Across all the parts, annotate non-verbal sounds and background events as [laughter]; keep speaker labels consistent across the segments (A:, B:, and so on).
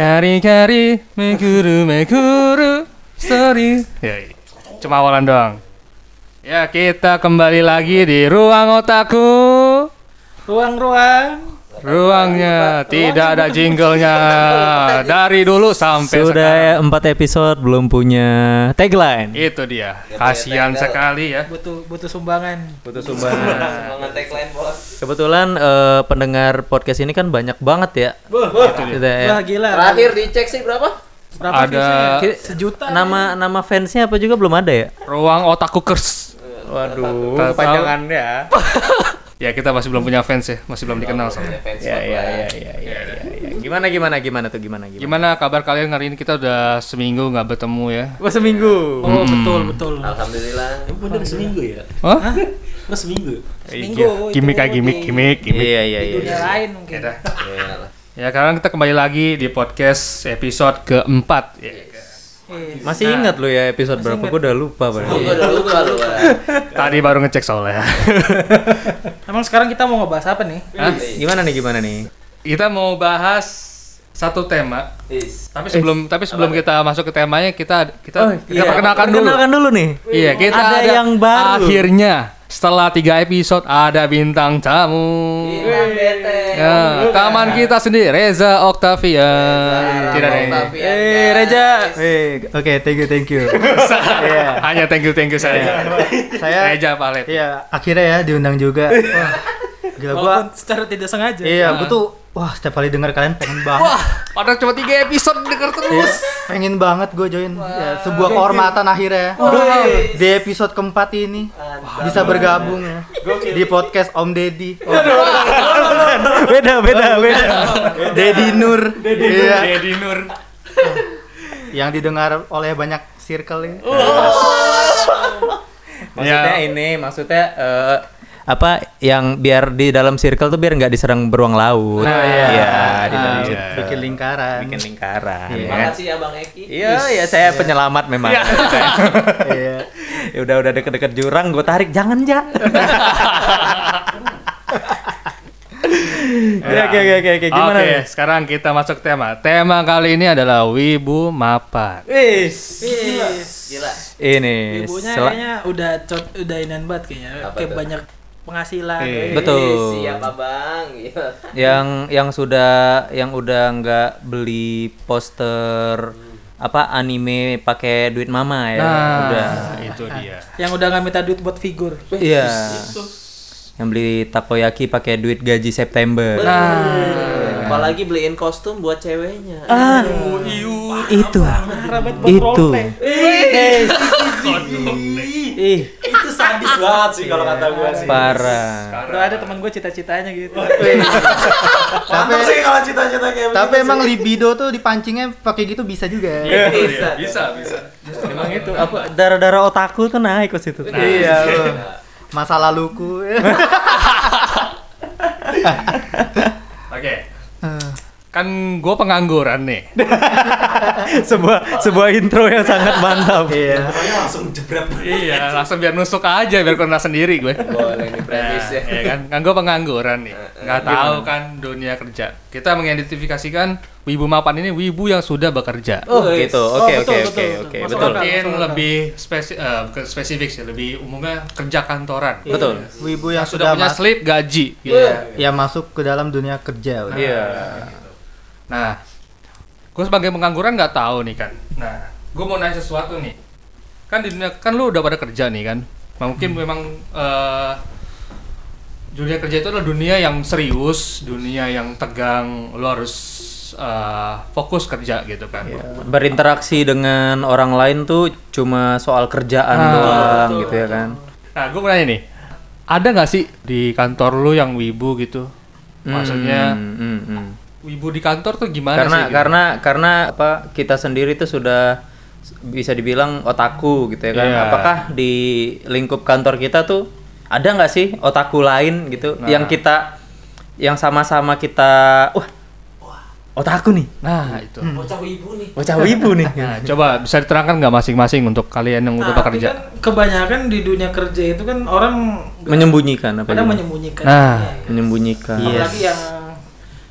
A: Mekari, mekuru, mekuru, sorry. Ya, cuma awalan doang. Ya, kita kembali lagi di ruang otakku.
B: Ruang-ruang.
A: Ruangnya tidak ada jinglenya dari dulu sampai sekarang. Iya.
C: Sudah ya, empat episode belum punya tagline.
A: Itu dia. Kasihan sekali ya.
B: Butuh butuh sumbangan.
C: Butuh sumbangan.
D: Semangat tagline bos.
C: Kebetulan eh, pendengar podcast ini kan banyak banget ya. Gitu
B: [laughs]
C: ya.
B: Wah gila.
D: Terakhir dicek sih berapa?
B: Berapa
A: Ada-
B: viewsnya?
C: Ki-
B: sejuta.
C: Nama nama fansnya apa juga belum ada ya.
A: Ruang otakku kers.
C: Waduh,
A: Tahu-
C: kepanjangannya.
A: Ya, kita masih belum punya fans ya, masih belum dikenal
D: Punya
A: soalnya.
D: fans
C: Ya
D: klub
C: ya
D: lah.
C: ya ya ya. ya, ya. Gimana gimana gimana tuh gimana gimana.
A: Gimana kabar kalian hari ini? Kita udah seminggu nggak bertemu ya.
C: Gua seminggu.
B: Oh, betul betul.
D: Alhamdulillah.
E: Bener seminggu ya?
A: Hah?
E: Mas seminggu?
B: Seminggu,
A: gimik
B: itu
A: kayak gimik,
B: di-
A: gimik, gimik.
C: Iya iya iya.
B: Dunia lain mungkin.
D: Iyalah.
A: Ya, sekarang kita kembali lagi di podcast episode keempat. Ya.
B: Iya.
C: Masih ingat lu ya episode berapa? Gua udah lupa
D: Gua
C: banget.
D: udah lupa lu. Bang.
A: Tadi baru ngecek soalnya.
B: Emang sekarang kita mau ngebahas apa nih?
A: Hah?
C: Gimana nih gimana nih?
A: Kita mau bahas satu tema.
D: Is.
A: Tapi sebelum tapi sebelum kita masuk ke temanya kita kita, kita
C: Iya.
A: perkenalkan dulu.
C: Perkenalkan dulu nih.
A: Iya, kita
C: Ada
A: ada,
C: yang baru.
A: Akhirnya setelah tiga episode ada bintang tamu.
B: Iya.
D: Bintang Iya, bete.
A: Ya, taman kita sendiri Reza Octavian. Tidak ada yang-
B: Iya,
D: Octavian,
C: Eh,
D: guys.
C: Reja. Eh, oke, thank you, thank you. Iya.
A: [laughs] Hanya thank you thank you saya.
E: Saya-
A: Reza Palep.
E: Iya, akhirnya ya diundang juga. Wah, gila gua.
B: Walaupun secara tidak sengaja.
E: Iya, gua tuh wah setiap kali denger kalian pengen banget.
A: Wah, padahal cuma tiga episode denger
E: Iya,
A: terus.
E: pengen banget gue join Ya, sebuah kehormatan akhirnya di episode keempat ini bisa bergabung ya di podcast Om Deddy Oh,
C: Beda, beda, beda.
E: Deddy Nur Iya,
A: Dedi Nur.
E: yang didengar oleh banyak circle ya. ini
C: Maksudnya
A: Ya.
C: ini, maksudnya eh, apa yang biar di dalam circle tuh biar nggak diserang beruang laut.
A: Nah, iya.
C: Ya, di dalam
A: iya.
E: Ah,
C: circle.
E: bikin lingkaran
C: Bikin lingkaran.
E: Iya.
C: ya.
D: Makasih ya Bang Eki.
C: Iya, iya saya penyelamat memang. [laughs]
E: iya
C: ya udah udah deket-deket jurang, gue tarik jangan
A: [laughs]
C: ja. Ya, Oke oke oke oke gimana?
A: Oke,
C: nih?
A: sekarang kita masuk tema. Tema kali ini adalah Wibu Mapan.
C: Wis.
B: Iya.
D: Gila.
C: Ini
B: Ibunya
C: sel-
B: kayaknya udah cot, udah inan banget kayaknya.
D: Apa
B: Kayak
D: tuh?
B: banyak penghasilan.
A: Iya.
B: Eh,
C: Betul.
D: Ih, Siapa Bang? Gila.
C: yang yang sudah yang udah nggak beli poster
D: Hmm.
C: apa anime pakai duit mama ya udah
A: Nah, itu dia.
B: Yang udah nggak minta duit buat figur.
C: iya yang beli takoyaki pakai duit gaji September Nah.
D: Apalagi beliin kostum buat ceweknya.
C: Ah. itu itu ih
D: Itu sadis banget sih kalau kata gua sih.
C: parah
B: Udah ada teman gue cita-citanya gitu.
E: [laughs] tapi
D: kalau cita-cita kayak
E: tapi emang libido tuh dipancingnya pakai gitu bisa juga ya
A: Iya.
D: Bisa.
A: Bisa, bisa.
C: emang itu apa darah darah otakku tuh naik ke situ
D: Nah.
E: iya loh. masa laluku
A: Oke. Kan gue pengangguran nih.
C: sebuah sebuah intro yang sangat mantap
E: iya
A: iya, [laughs] langsung biar nusuk aja biar kena sendiri gue.
D: Boleh nih
A: Nah,
D: premis ya.
A: ya eh, kan, kan gue pengangguran nih, nggak tahu kan dunia kerja. Kita mengidentifikasikan wibu mapan ini wibu yang sudah bekerja.
C: oh gitu oke
B: Oh, betul,
C: oke
B: betul,
C: oke
B: betul.
C: oke
B: Masuk
C: betul
B: akal.
A: Mungkin
B: Masalah.
A: lebih spesi- eh, bukan spesifik sih, lebih umumnya kerja kantoran.
C: Iya. betul
E: wibu yang
A: Sudah
E: sudah,
A: punya
E: mas-
A: slip gaji. gitu.
E: ya masuk ke dalam dunia kerja udah.
C: iya
A: Nah, gue sebagai pengangguran nggak tahu nih kan. Nah, gue mau nanya sesuatu nih. Kan di dunia kan lu udah pada kerja nih kan. Nah, mungkin
C: Hmm.
A: memang eh, dunia kerja itu adalah dunia yang serius, dunia yang tegang. Lu harus eh, fokus kerja gitu kan.
C: Iya. berinteraksi dengan orang lain tuh cuma soal kerjaan
A: Ah,
C: doang gitu ya kan
A: Nah, gue mau nanya nih. Ada nggak sih di kantor lu yang wibu gitu? Maksudnya
C: Hmm, hmm, hmm.
A: wibu di kantor tuh gimana
C: karena kan-
A: sih? gitu?
C: karena karena apa kita sendiri tuh sudah s- bisa dibilang otaku gitu ya kan
A: Iya.
C: apakah di lingkup kantor kita tuh ada nggak sih otaku lain gitu
B: Nah.
C: yang kita yang sama-sama kita wah otaku nih
A: Nah, itu.
B: Hmm.
D: Bocah ibu nih.
C: bocah wibu nih
B: [laughs]
A: Nah, coba bisa diterangkan nggak masing-masing untuk kalian yang udah
B: Nah,
A: bekerja?
B: tapi kan kebanyakan di dunia kerja itu kan orang
C: menyembunyikan apa
B: kadang
C: gimana? Ah,
B: menyembunyikan.
A: Nah.
B: Iya.
C: menyembunyikan
B: Apalagi yang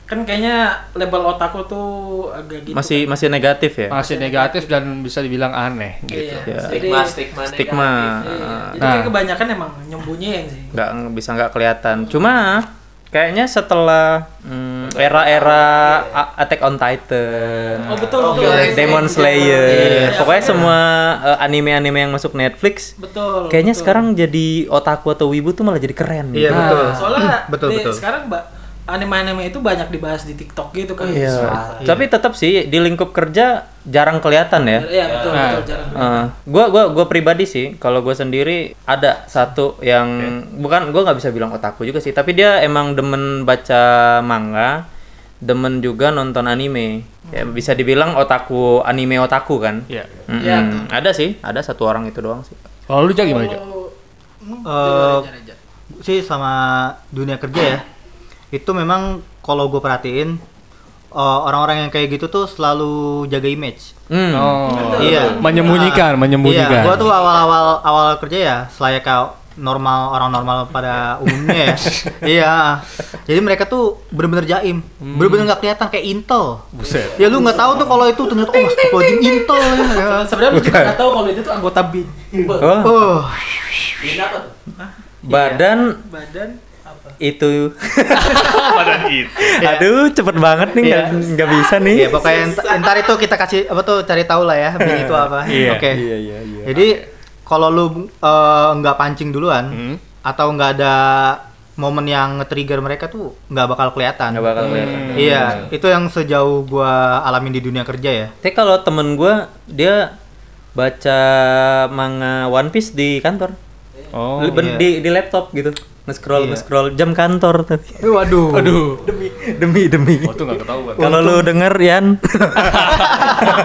B: kan kayaknya label otaku tuh agak gitu.
C: masih masih negatif ya
A: masih negatif dan bisa dibilang aneh gitu.
B: Iya.
C: Ya.
B: Jadi,
D: Stigma, stigma,
C: Stigma.
D: negatif.
B: iya,
C: Ah.
B: jadi
A: Nah.
B: kayak kebanyakan emang nyembunyiin sih.
C: eh, nggak bisa nggak kelihatan cuma kayaknya setelah mm, era-era A- Attack on Titan
B: Oh betul
D: Oh,
B: betul.
D: iya,
C: Demon
B: Iya,
C: Slayer pokoknya
B: iya.
C: semua eh, anime-anime yang masuk Netflix
B: Betul.
C: kayaknya
B: betul.
C: sekarang jadi otaku atau wibu tuh malah jadi keren
A: Nah,
E: Iya betul.
B: soalnya
E: [laughs]
C: Hmm,
E: betul
B: di-
E: betul.
B: sekarang mbak anime-anime itu banyak dibahas di TikTok gitu kan.
C: Iya.
B: Soal-
C: tapi tetap sih di lingkup kerja jarang kelihatan ya
B: Iya betul
A: Nah.
B: betul jarang.
C: Eh, gua gua gua pribadi sih kalau gua sendiri ada satu yang bukan gua nggak bisa bilang otaku juga sih tapi dia emang demen baca manga demen juga nonton anime ya bisa dibilang otaku anime otaku kan
A: Iya.
C: Mm-mm.
B: Iya.
C: ada sih ada satu orang itu doang sih
A: Kalau lu Jak gimana Jak?
E: Eh, sih sama dunia kerja ya itu memang kalau gue perhatiin eh, orang-orang yang kayak gitu tuh selalu jaga image
C: Hmm.
A: Oh.
E: Iya.
A: Menyembunyikan, menyembunyikan.
E: Iya, gua tuh awal-awal awal kerja ya, selayaknya normal orang normal pada
A: [laughs]
E: umumnya ya. iya. Jadi mereka tuh bener-bener jaim,
A: Hmm.
E: bener-bener nggak kelihatan kayak intel.
A: Buset.
E: Ya lu nggak tahu tuh kalau itu ternyata oh astagfirullahaladzim intel ya.
B: Sebenarnya lu juga nggak tahu kalau dia tuh anggota bin.
C: Oh,
E: Oh,
A: [laughs]
D: Ini apa tuh?
C: badan
B: Badan apa?
C: [laughs] itu aduh Uh, cepet banget nih nggak nggak bisa nih [laughs]
E: iya pokoknya ent- entar itu kita kasih apa tuh cari tahu lah ya, bin itu apa.
A: Iya.
E: Oke.
C: iya iya iya
E: Jadi kalau lu eh, nggak pancing duluan
A: Hmm.
E: atau nggak ada momen yang nge-trigger mereka tuh nggak bakal kelihatan.
C: nggak bakal kelihatan Hmm.
E: Iya, itu yang sejauh gua alamin di dunia kerja ya.
C: Tapi kalau temen gua dia baca manga One Piece di kantor,
A: Oh.
C: Li- ben-
E: iya.
C: di, di laptop gitu, nge-scroll
E: Iya.
C: nge-scroll jam kantor [laughs] tapi
E: Waduh.
A: Aduh.
C: demi demi.
A: Oh, itu nggak ketahuan.
C: Kalau lu denger Yan,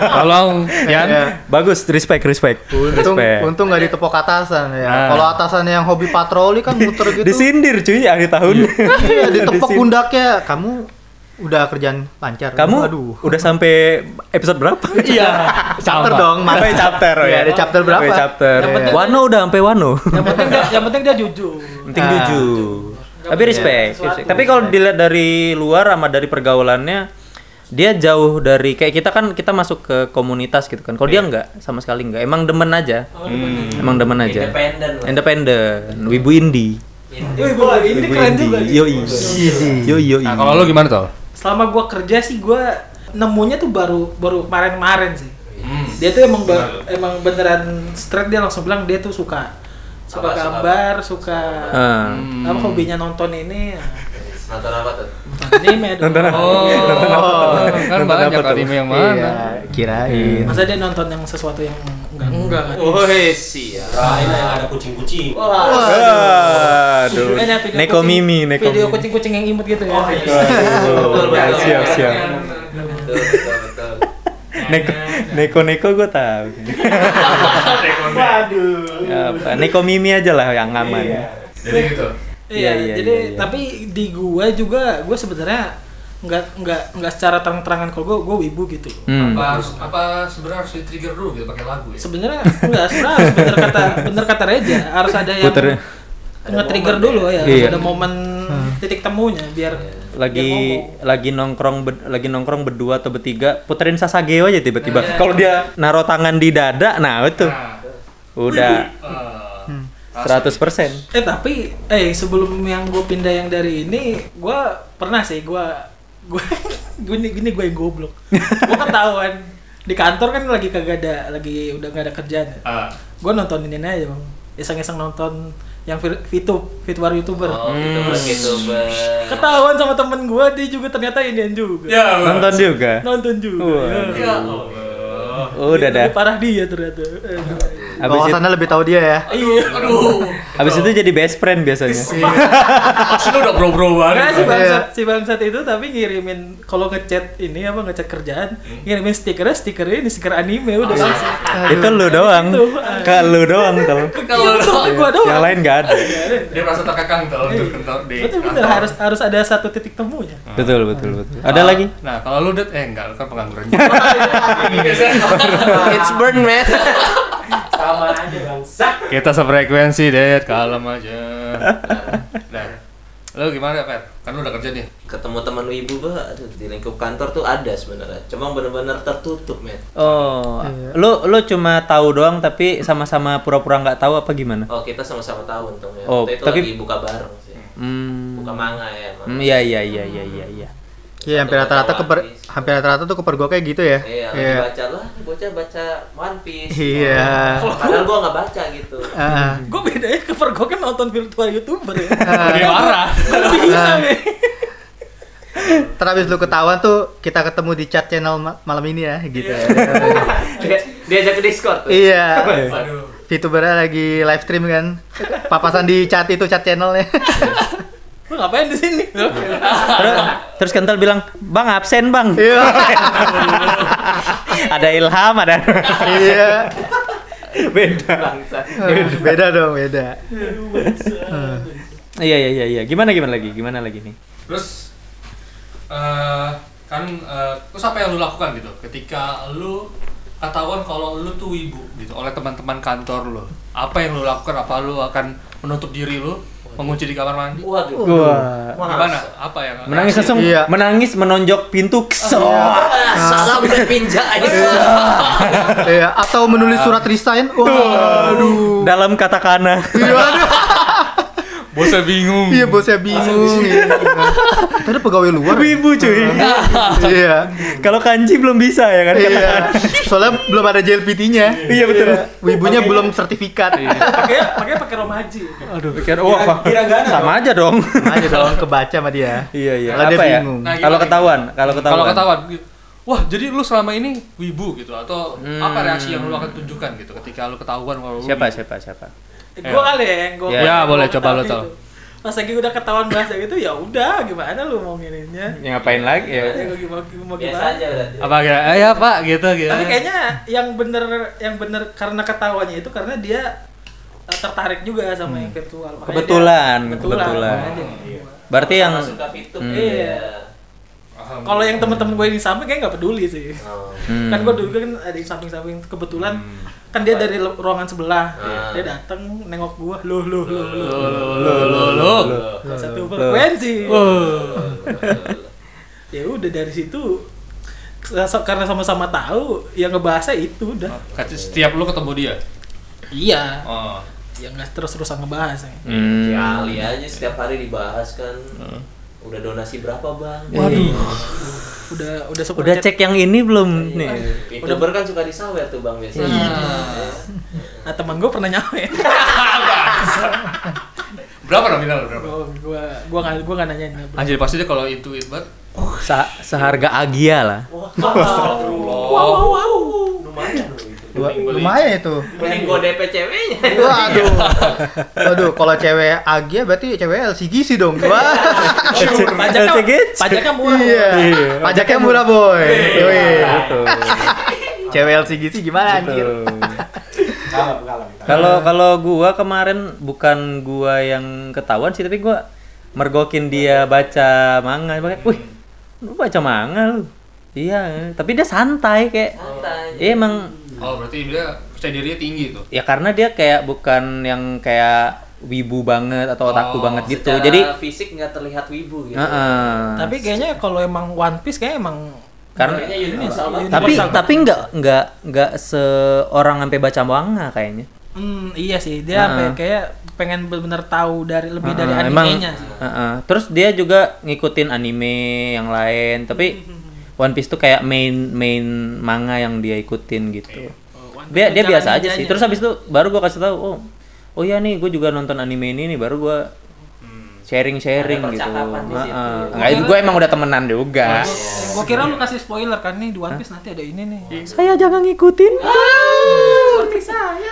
A: Tolong,
E: Iya.
A: Yan.
C: bagus, respect respect.
E: Untung
C: respect.
E: untung nggak ditepok atasan ya.
A: Ah.
E: Kalau atasan yang hobi patroli kan
C: [laughs]
E: muter gitu.
C: Disindir cuy akhir tahun. [laughs]
E: Iya, ditepok
C: Disin-
E: pundaknya. Kamu udah kerjaan lancar.
C: Kamu
E: aduh.
C: udah sampai episode berapa?
A: Iya.
E: Chapter dong, Mas.
C: Sampai chapter
E: Iya,
C: ya.
E: ada chapter berapa?
C: Sampai chapter. ya.
E: Yang penting-
C: Wano udah sampai Wano.
B: Yang penting dia, yang penting dia jujur.
C: penting
E: Ah.
C: jujur
E: Iya.
C: tapi respect,
B: sesuatu.
C: respect. tapi kalau dilihat dari luar sama dari pergaulannya dia jauh dari kayak kita kan kita masuk ke komunitas gitu kan kalau
E: Iya.
C: dia nggak sama sekali nggak emang demen aja
E: Oh,
C: emang demen aja
D: Independen lah.
C: independen wibu indie
D: Ini.
B: Wih, bola ini keren juga. nih.
C: yoi yoi yoi
A: Nah, kalau lu gimana tuh?
B: Selama gua kerja sih gua nemunya tuh baru baru kemarin-kemarin sih. Dia tuh emang ba- emang beneran straight dia langsung bilang dia tuh suka suka
D: Apa, suka
B: gambar, suka
C: Ah.
B: apa hobinya nonton ini
D: Nonton apa tuh?
B: anime dong.
A: Oh, kan
C: Nonton
A: banyak
C: apa tuh?
A: anime yang mana?
E: Iya, kirain.
B: Masa dia nonton yang sesuatu yang enggak enggak kan?
D: Woi, siap.
F: Kirain yang ada kucing-kucing.
D: Wah.
C: aduh
B: Kayaknya Eh, video
C: neko
B: kucing-
C: mimi neko
B: Video
C: mimi
B: kucing-kucing yang imut gitu ya.
D: Betul,
C: Aduh,
D: betul.
C: Ya, siap siap
D: Betul, betul, betul.
C: neko neko neko gue tahu waduh neko mimi aja lah yang aman
F: Jadi gitu.
C: Iya,
B: Iya,
C: iya,
B: jadi
C: iya, iya.
B: tapi di gua juga gua sebenarnya nggak nggak nggak secara terang-terangan kalau gua gua wibu gitu. loh.
C: Hmm.
A: Apa harus apa sebenarnya harus di-trigger dulu gitu pakai lagu ya?
B: Sebenarnya enggak, sebenarnya harus bener kata bener kata Reja harus ada yang
C: Puter.
B: nge-trigger dulu ya, harus
C: Iya. Hmm.
B: ada momen titik temunya biar
C: lagi lagi nongkrong bed- lagi nongkrong berdua atau bertiga puterin Sasageo aja tiba-tiba kalau dia naruh tangan di dada nah itu
A: Nah,
C: udah
A: eh,
C: 100%
B: Eh tapi eh sebelum yang gue pindah yang dari ini, gue pernah sih gue gue [laughs] gini gini gue yang goblok. gue ketahuan di kantor kan lagi kagak ada lagi udah gak ada kerjaan.
A: eh,
B: Gue nontonin ini aja bang, iseng-iseng nonton yang Vir- VTube, VTuber youtuber.
D: Oh, gitu, begitu, Bang.
B: Ketahuan sama temen gue dia juga ternyata ini juga.
C: nonton juga
B: Nonton juga.
C: Waduh.
B: Ya.
C: udah dah
B: Lebih parah dia ternyata. Eh,
C: habis itu,
E: Wawasannya lebih tahu dia ya.
B: Iya.
C: habis itu jadi best friend biasanya
A: Pasti lu Iya. udah bro-bro
B: Nah,
A: banget.
B: si bangsat,
C: Iya.
B: si bangsat itu tapi ngirimin kalau ngechat ini apa ngechat kerjaan,
A: Hmm.
B: ngirimin stiker stiker ini stiker
A: Iya.
B: anime udah langsung.
C: itu lu doang
B: Itu.
C: ke lu doang kalau
B: Kalau
A: Iya.
B: gua doang.
C: yang lain nggak ada
A: Dia merasa terkekang tuh untuk kentor di.
B: Iya. Betul bener
A: kantor.
B: harus harus ada satu titik temunya.
C: betul betul betul ada
A: Ah,
C: lagi
A: Nah, kalau lu det eh enggak, lu kan
B: [laughs]
A: pengangguran.
D: It's burn, man.
F: Sama aja bangsa.
A: Kita sefrekuensi, Det. Kalem aja. Nah, Lo gimana, Per? Kan lu udah kerja nih.
D: ketemu teman lu ibu bah aduh, di lingkup kantor tuh ada sebenarnya cuma bener-bener tertutup men
C: Oh, lu lu cuma tahu doang tapi sama-sama pura-pura nggak tahu apa gimana?
D: oh kita sama-sama tahu untung ya
C: Oh,
D: Waktu itu
C: tapi-
D: lagi buka bareng sih
C: Hmm.
D: buka manga ya emang.
C: Hmm, iya iya iya iya iya iya.
E: Iya, hampir rata-rata keper hampir rata-rata tuh keper gua kayak gitu ya.
D: iya lagi
E: Iya.
D: baca lah bocah baca One Piece
E: Iya.
D: padahal gua nggak baca gitu
C: [laughs]
E: Ah,
B: Gue bedanya cover gue kan nonton virtual youtuber ya.
C: [laughs]
A: Dia marah.
B: Lebih hina
E: Ah.
B: ya.
E: Ntar abis lu ketahuan tuh kita ketemu di chat channel ma- malam ini ya, gitu ya.
D: Dia- diajak ke Discord tuh.
E: iya.
F: Aduh.
E: VTuber lagi live stream kan. Papasan di chat itu chat channelnya.
B: Lu ngapain di sini?
C: Terus terus kental bilang, "Bang, absen, Bang."
E: Iya.
C: [laughs] ada Ilham, ada [laughs]
E: Iya.
C: beda.
D: bangsa
E: Beda dong, beda.
C: Iya iya iya iya. Gimana gimana lagi? Gimana lagi nih?
A: Terus eh kan eh, terus apa yang lu lakukan gitu ketika lu ketahuan kalau lu tuh wibu gitu oleh teman-teman kantor lu. Apa yang lu lakukan? Apa lu akan menutup diri lu, mengunci di kamar mandi?
D: waduh
C: Wah.
D: Wah.
A: Gimana? Apa ya? yang
C: Menangis langsung,
E: Iya.
C: menangis menonjok pintu. Kesel.
D: Ah, salah bisa pinjak aja
E: Iya, atau menulis surat resign. Waduh.
C: Dalam katakana.
E: Iya, aduh.
A: Bosnya bingung.
E: Iya, bosnya bingung. Iya. Kita ada pegawai luar.
C: Wibu cuy.
E: [laughs] Iya.
C: Kalau kanji belum bisa ya kan
E: Iya.
C: katakana.
E: Soalnya belum ada JLPT-nya.
C: Iya, betul.
E: Wibunya belum sertifikat.
B: Pakainya pakainya pakai romaji.
C: Aduh, pikir Kan, wah.
F: Hiragana
C: Sama aja dong.
E: Aja dong kebaca sama dia.
C: [laughs] Iya iya.
E: Kalau dia
C: Apa ya?
E: bingung.
A: Nah,
C: Kalau
A: gimana?
C: ketahuan, kalau ketahuan.
A: Kalau ketahuan gitu. Wah, jadi lu selama ini wibu gitu atau apa reaksi yang lu akan tunjukkan gitu ketika lu ketahuan kalau lu
C: Hmm. Siapa
A: wibu?
C: siapa siapa?
B: Eh, Gue kali ya yang gue.
C: Ya,
A: Iya. boleh, coba lu tau.
B: gitu. Pas lagi udah ketahuan bahasa gitu ya udah gimana lu mau ngirinnya?
C: Ya ngapain lagi ya?
B: Ya
A: Iya.
B: gua gimana mau
D: biasa
B: gimana?
D: aja berarti
A: Apa kira? Eh, ya, Pak gitu gitu.
C: Iya.
B: Tapi kayaknya yang bener yang bener karena ketahuannya itu karena dia eh, tertarik juga sama yang virtual. Makanya
C: Hmm.
B: dia-
C: Kebetulan, kebetulan.
B: makanya dia keluar.
C: Berarti yang
D: Sama suka fitur
C: Hmm.
B: Iya. Kalau yang temen-temen gue di samping kayak nggak peduli sih.
D: Oh.
C: Hmm.
B: Kan gue dulu kan ada di samping-samping kebetulan kan dia dari le- ruangan sebelah.
D: Ah.
B: Dia datang nengok gue, loh loh loh loh.
A: Lo lo lo lo.
B: Satu frekuensi. Ya udah dari situ sa- karena sama-sama tahu yang ngebahasnya itu udah.
A: Setiap lu ketemu dia.
B: Iya.
A: Oh.
B: Ya nggak terus-terusan ngebahas. Ya.
C: Hmm.
D: kali aja setiap hari dibahas kan udah donasi berapa bang
C: Waduh.
B: Udah Iya. udah super
C: Udah cek
B: chat.
C: Iya. yang ini Iya. belum nih.
D: Udah kan suka disawer tuh bang biasanya.
B: Nah, teman gue pernah nyawer.
A: Berapa nominal lu, berapa?
B: gue [laughs] gua gua nggak gua nggak nanya ini.
A: Anjir pasti dia kalau itu itu banget.
C: Sa- seharga Agia lah.
A: Astagfirullah.
E: Wah, Lumayan itu.
D: Mending gue DP ceweknya.
E: Waduh. Waduh, kalau cewek Agia berarti cewek LCGC dong. Wah.
B: Pajaknya,
C: LCGC.
B: pajaknya murah.
E: Iya.
C: Iya.
E: Pajaknya Iya. murah, boy. Yoi.
C: Betul.
E: Cewek LCGC gimana anjir? [laughs]
F: Kalem, kalem.
C: Kalau kalau gua kemarin bukan gua yang ketahuan sih tapi gua mergokin dia baca manga Pakai, Wih, lu baca manga lu. Iya, tapi dia santai kayak. Iya, emang
A: Oh, berarti dia percaya dirinya tinggi tuh.
C: ya karena dia kayak bukan yang kayak wibu banget atau otaku
A: Oh,
C: banget gitu.
D: Secara
C: Jadi
D: fisik nggak terlihat wibu gitu.
C: Heeh.
B: Tapi kayaknya kalau emang One Piece kayaknya emang
C: Karena-
D: Kayaknya universal banget.
C: tapi
B: universal.
C: tapi nggak nggak nggak seorang sampai baca manga kayaknya.
B: Hmm, iya sih, dia sampai
C: Heeh.
B: kayak pengen bener-bener tahu dari lebih dari
C: Heeh,
B: animenya sih.
C: heeh. Terus dia juga ngikutin anime yang lain,
B: [laughs]
C: tapi One Piece tuh kayak main main manga yang dia ikutin gitu.
B: Oh, One Piece
C: Dia dia
B: jalan
C: biasa aja
B: ninjanya.
C: sih. Terus habis itu baru gua kasih tahu, oh oh iya nih, gue juga nonton anime ini nih, baru gua
A: Hmm.
C: sharing sharing
D: Ada
C: gitu.
D: percakapan di situ.
C: Heeh. Nggak, gue emang udah temenan juga.
B: Gua kira lu kasih spoiler kan nih di One Piece nanti ada ini nih.
C: Saya jangan ngikutin.
B: Ah. Seperti saya.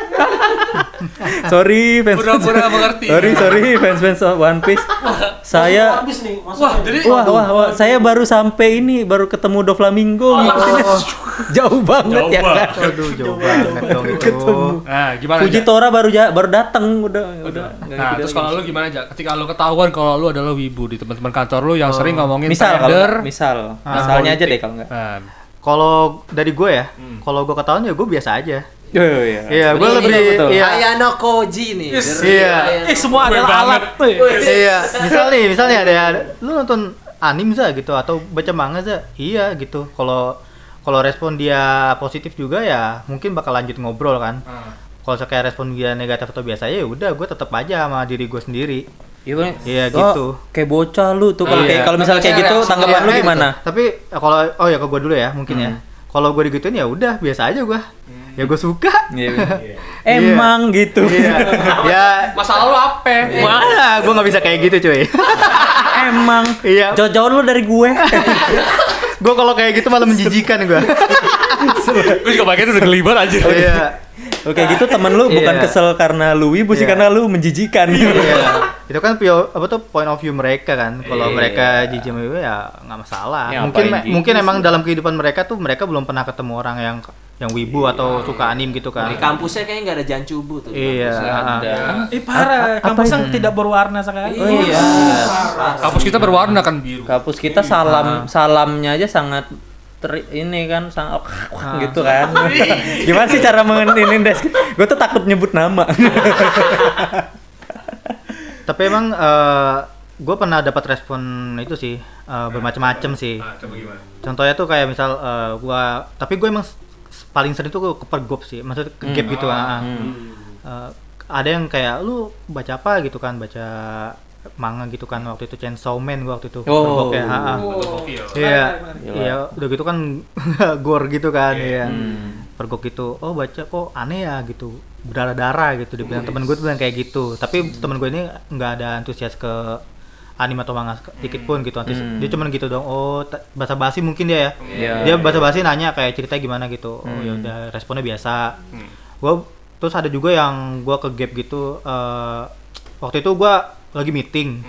C: sorry fans.
A: Pura-pura mengerti.
C: [laughs] Sorry sorry fans fans of One
B: [laughs]
C: Piece. saya
F: Habis nih, masuk.
A: Wah, jadi
C: Wah, wah, wah, saya baru sampai ini, baru ketemu Doflamingo
B: Oh,
C: ngikutinnya.
B: iya.
C: [laughs] Jauh banget
A: Jauh
C: ya kan.
A: banget.
E: Aduh, jauh banget dong itu.
A: Nah, gimana?
B: Iya.
C: Fuji
A: Ja?
C: Tora baru ja- baru datang udah udah.
A: Nah,
C: nggak ngikutin
A: terus
C: lagi.
A: kalau lu gimana aja? Ketika lu ketahuan kalau lu adalah wibu di teman-teman kantor lu yang sering ngomongin
C: misal kalau
A: tender.
C: misal
E: Ah,
C: misalnya aja
A: politik.
C: deh kalau enggak.
A: Nah,
E: Hmm. Kalau dari gue ya, kalau gue ketahuan ya gue biasa aja.
C: Oh, iya.
E: Iya, gue
C: Ini- ini
E: lebih
C: betul.
E: iya.
D: Ayano Koji nih.
B: Yes.
D: Dari
E: Iya.
D: Ayano
B: Eh semua
A: Gue
B: adalah
A: banget.
B: alat. tuh.
E: Iya, misal nih, misal nih ada lu nonton anime za gitu atau baca manga za? Iya gitu. Kalau kalau respon dia positif juga ya mungkin bakal lanjut ngobrol kan.
A: Ah.
E: Kalau kayak respon dia negatif atau biasa ya udah gue tetap aja sama diri gue sendiri.
C: Iya kan?
E: Iya,
C: Oh,
E: gitu.
C: Kayak bocah lu tuh kalau
E: Iya.
C: kayak kalau misalnya kayak
D: Tapi
C: gitu
D: reaksi
C: tanggapan lu
E: Iya,
C: gimana? Hmm.
E: gitu. Tapi ya, kalau oh ya ke gue dulu ya mungkin ya. Kalau gue digituin ya udah biasa aja gue.
A: Hmm.
E: Ya gue suka.
C: Iya. Emang gitu.
A: [laughs]
E: Iya. ya
A: Masalah lu apa?
E: mana gue nggak bisa kayak gitu cuy.
C: [laughs] Emang.
E: Iya.
C: Jauh-jauh lu dari
E: [laughs]
C: gue.
E: gue kalau kayak gitu malah menjijikan gue.
A: Gue juga bagian udah gelibat aja.
E: Iya.
C: Oke, gitu temen lu bukan
E: Iya.
C: kesel karena lu wibu sih
E: Iya.
C: karena lu menjijikan. [laughs]
E: Iya. itu kan pio- apa tuh point of view mereka kan. Kalau mereka jijik sama gue ya nggak masalah.
C: Ya,
E: mungkin
C: ngapain gitu
E: mungkin emang dalam kehidupan mereka tuh mereka belum pernah ketemu orang yang yang wibu atau suka anime gitu kan.
D: Di kampusnya kayaknya nggak ada jancubu tuh. di
E: Iya.
D: kampus.
B: Ih parah, kampusnya tidak berwarna sekali.
E: Oh,
C: Iya.
A: Kampus kita berwarna kan biru.
C: Kampus kita salam salamnya aja sangat teri- ini kan sangat [laughs] gitu kan. Gimana sih cara mengenin desk? Gue tuh takut nyebut nama. [laughs]
E: Tapi emang eh, gue pernah dapat respon itu sih eh, bermacam-macam sih.
A: Nah, coba gimana?
E: Contohnya tuh kayak misal eh, gua tapi gue emang s- s- paling sering tuh ke- kepergop sih, maksudnya ke gap gitu. ah, ah. Eh, ada yang kayak lu baca apa gitu kan, baca manga gitu kan waktu itu Chainsaw Man gua waktu itu kepergop ya. ah, ah.
A: Tokyo.
E: Iya.
B: Menarik,
C: menarik.
E: Iya, udah gitu kan [laughs] gore gitu kan, iya.
C: Hmm.
E: Pergok gitu. Oh, baca kok aneh ya gitu. Berdarah-darah gitu dibilang temen gue tuh bilang kayak gitu. Tapi temen gue ini nggak ada antusias ke anime atau manga sedikit pun gitu. Antus-
C: Hmm.
E: Dia cuman gitu dong. Oh, ta- basa-basi mungkin dia ya.
C: Iya.
E: Dia basa-basi nanya kayak cerita gimana gitu. Oh, ya udah responnya biasa. Gua terus ada juga yang gua ke gap gitu eh, waktu itu gua lagi meeting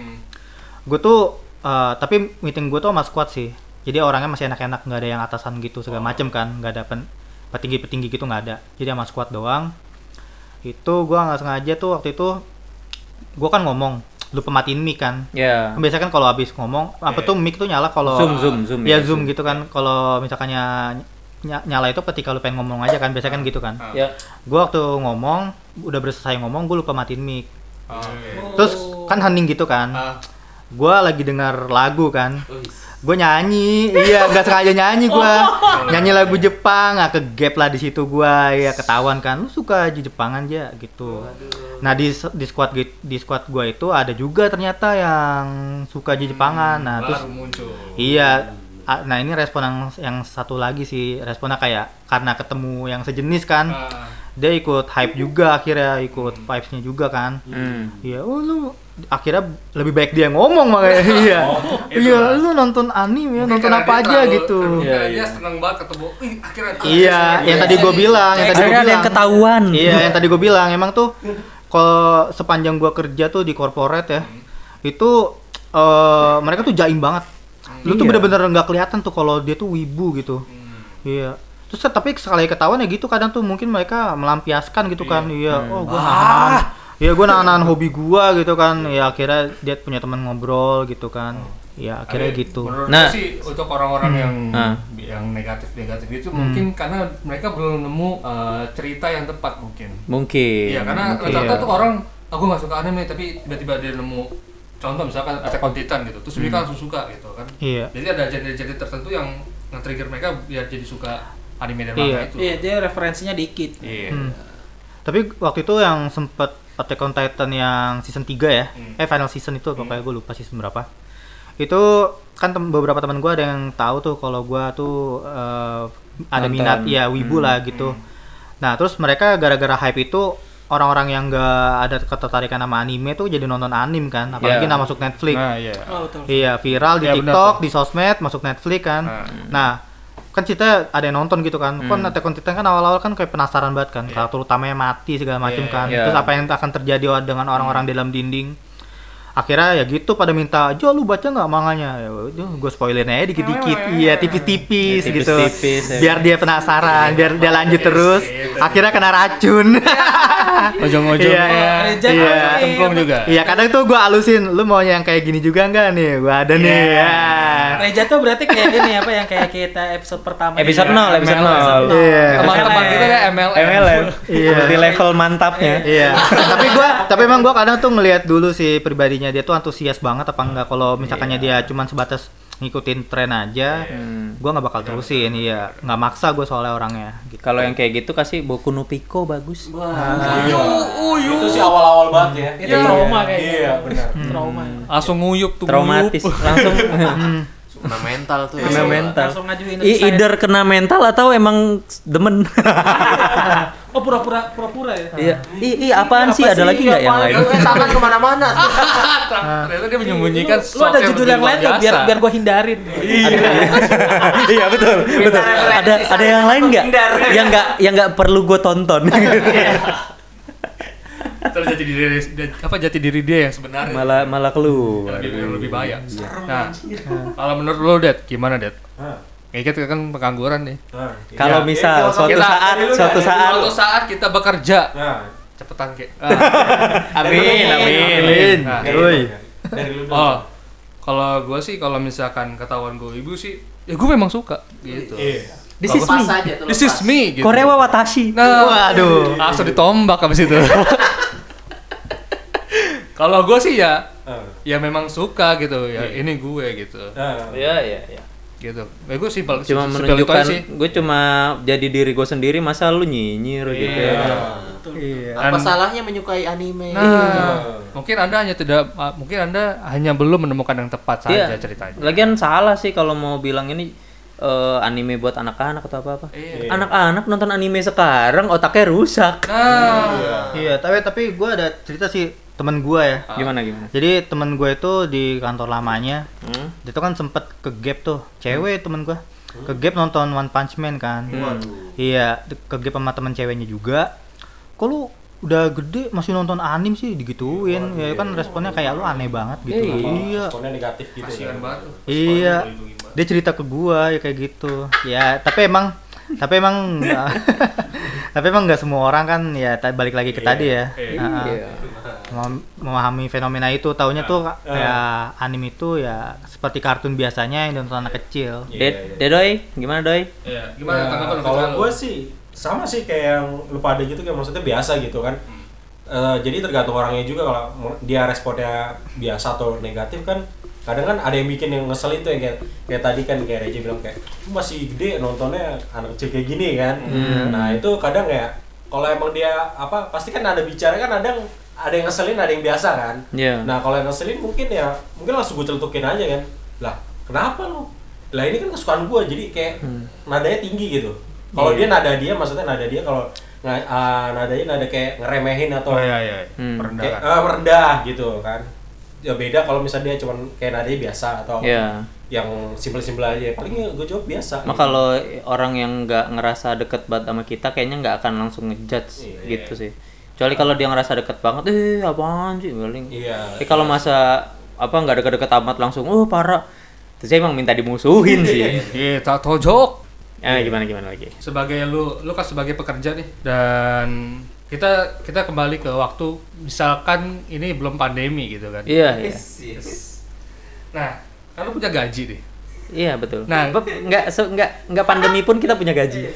E: gue tuh eh, tapi meeting gue tuh sama squad sih jadi orangnya masih enak-enak nggak ada yang atasan
C: Oh.
E: gitu segala macem kan nggak ada pen- petinggi-petinggi gitu nggak ada jadi sama squad doang itu gue nggak sengaja tuh waktu itu gue kan ngomong lu pematiin mic kan
C: Ya.
E: Kan biasanya kan kalau habis ngomong apa tuh mic tuh nyala kalau
C: Zoom, zoom, zoom, ya,
E: ya, zoom gitu kan kalau misalkannya ny- nyala itu ketika lu pengen ngomong aja kan biasanya kan gitu kan
C: Ya.
E: gue waktu ngomong udah berselesai ngomong gue lupa matiin mic
A: Oke.
E: terus kan hening gitu kan
A: Ah.
E: gue lagi denger lagu kan
D: Wih.
E: gue nyanyi iya nggak sengaja nyanyi gue
A: Oh.
E: nyanyi lagu Jepang nggak ke gap lah di situ gue ya ketahuan kan lu suka aja Jepangan aja gitu nah di di squad git- di squad gue itu ada juga ternyata yang suka aja Jepangan nah terus
A: Baru muncul.
E: iya a- nah ini respon yang yang satu lagi sih responnya kayak karena ketemu yang sejenis kan
A: Ah. Hmm.
E: dia ikut hype juga akhirnya ikut vibesnya juga kan
C: Hmm.
E: Iya, oh lu akhirnya lebih baik dia ngomong
A: [laughs]
E: makanya. Iya. Iya, lu nonton anime ya, nonton
A: Oh, gitu. Karena
E: apa
A: dia
E: aja
A: terlalu-
E: gitu.
A: Iya,
C: Iya,
A: dia
C: iya.
A: seneng banget ketemu. Ih, akhirnya
E: Iya, yang tadi gue bilang, yang tadi
C: Akhirnya
E: gue
C: ada
E: bilang.
C: yang ketahuan.
E: Iya, yang tadi gue bilang emang tuh kalau sepanjang gua kerja tuh di corporate ya, itu eh, mereka tuh jaim banget. Lu tuh
C: Iya.
E: bener-bener nggak kelihatan tuh kalau dia tuh wibu gitu. Iya. Terus tapi sekali ketahuan ya gitu kadang tuh mungkin mereka melampiaskan gitu kan. Iya, oh gua nahan. Iya, gua nahan hobi gua gitu kan. Ya akhirnya dia punya teman ngobrol gitu kan. Ya akhirnya gitu. Hmm.
A: nah,
C: Nah.
A: sih untuk orang-orang yang
C: Ah.
A: yang negatif-negatif itu mungkin karena mereka belum nemu eh, cerita yang tepat mungkin.
C: Mungkin.
A: Iya, karena
C: Mungkin.
A: rata-rata tuh orang aku nggak suka anime tapi tiba-tiba dia nemu contoh misalkan Attack on Titan gitu, terus mereka langsung suka gitu kan.
E: Hmm. Iya.
A: Jadi ada genre-genre tertentu yang nge-trigger mereka biar jadi suka anime dan
E: Iya. Hmm.
A: manga itu.
B: Iya, dia referensinya dikit.
A: Iya.
E: Tapi waktu itu yang sempet Attack on Titan yang season 3 ya.
C: Hmm.
E: Eh final season itu pokoknya gue lupa season berapa. Itu kan tem- beberapa teman gue ada yang tahu tuh kalau gue tuh eh,
C: Nonton.
E: ada
C: Hmm.
E: minat ya wibu lah gitu. Nah, terus mereka gara-gara hype itu orang-orang yang gak ada ketertarikan sama anime tuh jadi nonton anime kan,
C: Iya.
E: apalagi nah masuk Netflix.
A: Nah, iya.
B: Oh, betul.
E: Iya, viral di
A: Iya, benar
E: TikTok,
A: tuh.
E: di sosmed, masuk Netflix kan. Nah, kan kita ada yang nonton gitu kan. Kan Attack on Titan kan awal-awal kan kayak penasaran banget kan. Karakter utamanya mati segala macam
A: Iya,
E: kan.
C: iya.
E: Terus apa yang akan terjadi dengan orang-orang di dalam dinding. Akhirnya ya gitu pada minta, "Jo, lu baca nggak manganya?" Ya gue spoilerin aja dikit-dikit. Iya, tipis-tipis
C: Ya,
E: gitu.
C: tipis-tipis, ya.
E: Biar dia penasaran, biar dia lanjut terus. Akhirnya kena racun.
A: Ojong-ojongnya.
E: Iya,
B: iya.
A: iya, cengkung juga.
E: [laughs] Iya kadang tuh gua alusin, lu mau yang kayak gini juga nggak nih? Gua ada nih ya.
B: Reja tuh berarti kayak ini apa yang kayak kita episode pertama.
C: Episode
B: ini. ya?
C: 0, Iya. episode
A: MLM.
C: 0.
E: Iya.
A: Teman-teman
B: gitu
A: kita ya MLM.
C: MLM.
E: Iya.
C: Multi level mantapnya.
E: Iya. [laughs] tapi gua tapi emang gua kadang tuh ngelihat dulu sih pribadinya dia tuh antusias banget apa enggak kalau misalkannya dia cuman sebatas ngikutin tren aja. Gua nggak bakal terusin, iya. nggak maksa gua soalnya orangnya gitu.
C: Kalau yang kayak gitu kasih Boku no Pico bagus.
A: Uyu, uyu.
F: Itu sih awal-awal banget ya.
B: Itu trauma kayaknya.
F: Iya, benar.
B: Trauma.
A: Langsung nguyup tuh.
C: Traumatis
A: nguyup.
C: [laughs] langsung. Hmm.
D: Kena mental tuh ya.
C: Kena mental.
B: Langsung ngajuin ya.
C: I-
B: website.
C: Either kena mental atau emang demen.
B: Oh pura-pura pura-pura ya.
C: Iya. Ih, ih, apaan
B: Apa
C: sih? Ada
B: sih?
C: lagi nggak yang
D: Apaan?
C: lain?
B: Iya.
D: Eh, tangan kemana-mana.
A: Ternyata dia menyembunyikan
B: Lu ada judul yang lain nggak biar biar gua hindarin.
C: Iya betul, betul. Ada ada yang lain nggak? Yang nggak yang nggak perlu gue tonton.
A: terjadi diri apa jati diri dia yang sebenarnya.
C: malah malah keluar. Iya.
A: lebih, lebih bahaya. Nah, kalau menurut lo, Det, gimana, Det?
C: Ah.
A: Ya, kita kan pengangguran nih. Ya,
C: Kalau misal
F: jadi
C: suatu
A: kita-
C: saat
F: dari lu
C: suatu
F: dah,
C: saat.
A: Suatu saat kita bekerja,
F: Nah,
A: cepetan kek. Ah.
C: Amin amin.
E: Lin.
A: Nah,
F: dari
E: Woi.
F: lu dah. Dari lu dulu.
A: Oh, kalau gue sih kalau misalkan ketahuan gue ibu sih, ya gue memang suka gitu.
F: Iya.
C: This is
D: Lepas
C: me.
D: aja tuh.
A: This is
D: lepas.
A: me. Gitu.
C: Korewa watashi.
A: Nah,
E: Waduh.
A: langsung ditombak abis itu. kalau gue sih ya,
F: Ah,
A: ya memang suka gitu. Ya ini gue gitu,
F: ah.
C: Iya iya iya.
A: gitu. Ya gue simpel,
C: Cuma
A: simpel itu aja
C: menunjukkan
A: sih.
C: gue cuma jadi diri gue sendiri masa lu nyinyir gitu ya.
E: Iya.
D: Apa
A: Dan-
D: salahnya menyukai anime?
A: Nah, mungkin anda hanya tidak, ah, mungkin anda hanya belum menemukan yang tepat saja
C: Iya.
A: ceritanya.
C: Lagian salah sih kalau mau bilang ini eh, anime buat anak-anak atau apa-apa. Iya. Anak-anak nonton anime sekarang otaknya rusak.
A: Nah,
E: Iya, tapi tapi gua ada cerita sih temen gua ya.
C: Gimana gimana?
E: Jadi temen gue itu di kantor lamanya,
C: Hmm.
E: dia tuh kan sempet ke gap tuh, cewek temen gue, ke gap nonton One Punch Man kan. Iya, di- ke gap sama temen ceweknya juga. Kok lu udah gede masih nonton anim sih digituin, ya kan responnya kayak lu aneh banget gitu. Iya,
F: Responnya negatif gitu ya.
A: kasihan banget.
E: iya. Dia cerita ke gua ya kayak gitu. Ya, tapi emang, [laughs] tapi emang, [laughs] tapi emang nggak semua orang kan ya ta- balik lagi ke tadi ya. Ah, ah mem- memahami fenomena itu taunya tuh ka- ya anime itu ya seperti kartun biasanya yang ditonton anak kecil
C: Ded, Dedoy, gimana Doy?
A: Iya, gimana
F: Ya,
A: tanggapan lo?
F: kalau
A: Kalau
F: gue sih sama sih kayak yang lu pada gitu kayak maksudnya biasa gitu kan Eh, jadi tergantung orangnya juga kalau mu- dia responnya biasa atau negatif kan kadang kan ada yang bikin yang ngesel itu yang kayak kayak tadi kan kayak Reja bilang kayak "Lu masih gede nontonnya anak kecil kayak gini kan
B: Hmm.
F: nah itu kadang ya kalau emang dia apa pasti kan ada bicara kan ada yang ada yang ngeselin ada yang biasa kan
A: Ya.
C: Iya.
F: nah kalau yang ngeselin mungkin ya mungkin langsung gue celutukin aja kan lah kenapa lu lah ini kan kesukaan gue jadi kayak
A: Hmm.
F: nadanya tinggi gitu
A: Iya.
F: kalau dia nada dia maksudnya nada dia kalau na- ah, nadanya nada kayak ngeremehin atau
A: Oh, iya, iya.
C: Hmm.
A: Merendah.
F: kayak, ah, merendah gitu kan ya beda kalau misalnya dia cuman kayak nadanya biasa atau
C: Iya.
F: yang simple-simple aja paling gue jawab biasa
C: Maka kalau orang yang nggak ngerasa deket banget sama kita kayaknya nggak akan langsung ngejudge gitu sih. Kecuali kalau dia ngerasa deket banget, eh apaan sih paling.
F: Iya.
C: Tapi kalau masa apa nggak deket-deket amat langsung, oh parah. Terus saya emang minta dimusuhin sih.
A: Kita tojok.
C: Eh gimana gimana lagi?
A: sebagai lu lu kan sebagai pekerja nih dan kita kita kembali ke waktu misalkan ini belum pandemi gitu kan
C: Iya iya.
A: nah kan lu punya gaji nih
C: Iya betul.
A: Nah.
C: Nah, nggak se- nggak nggak pandemi pun kita punya gaji.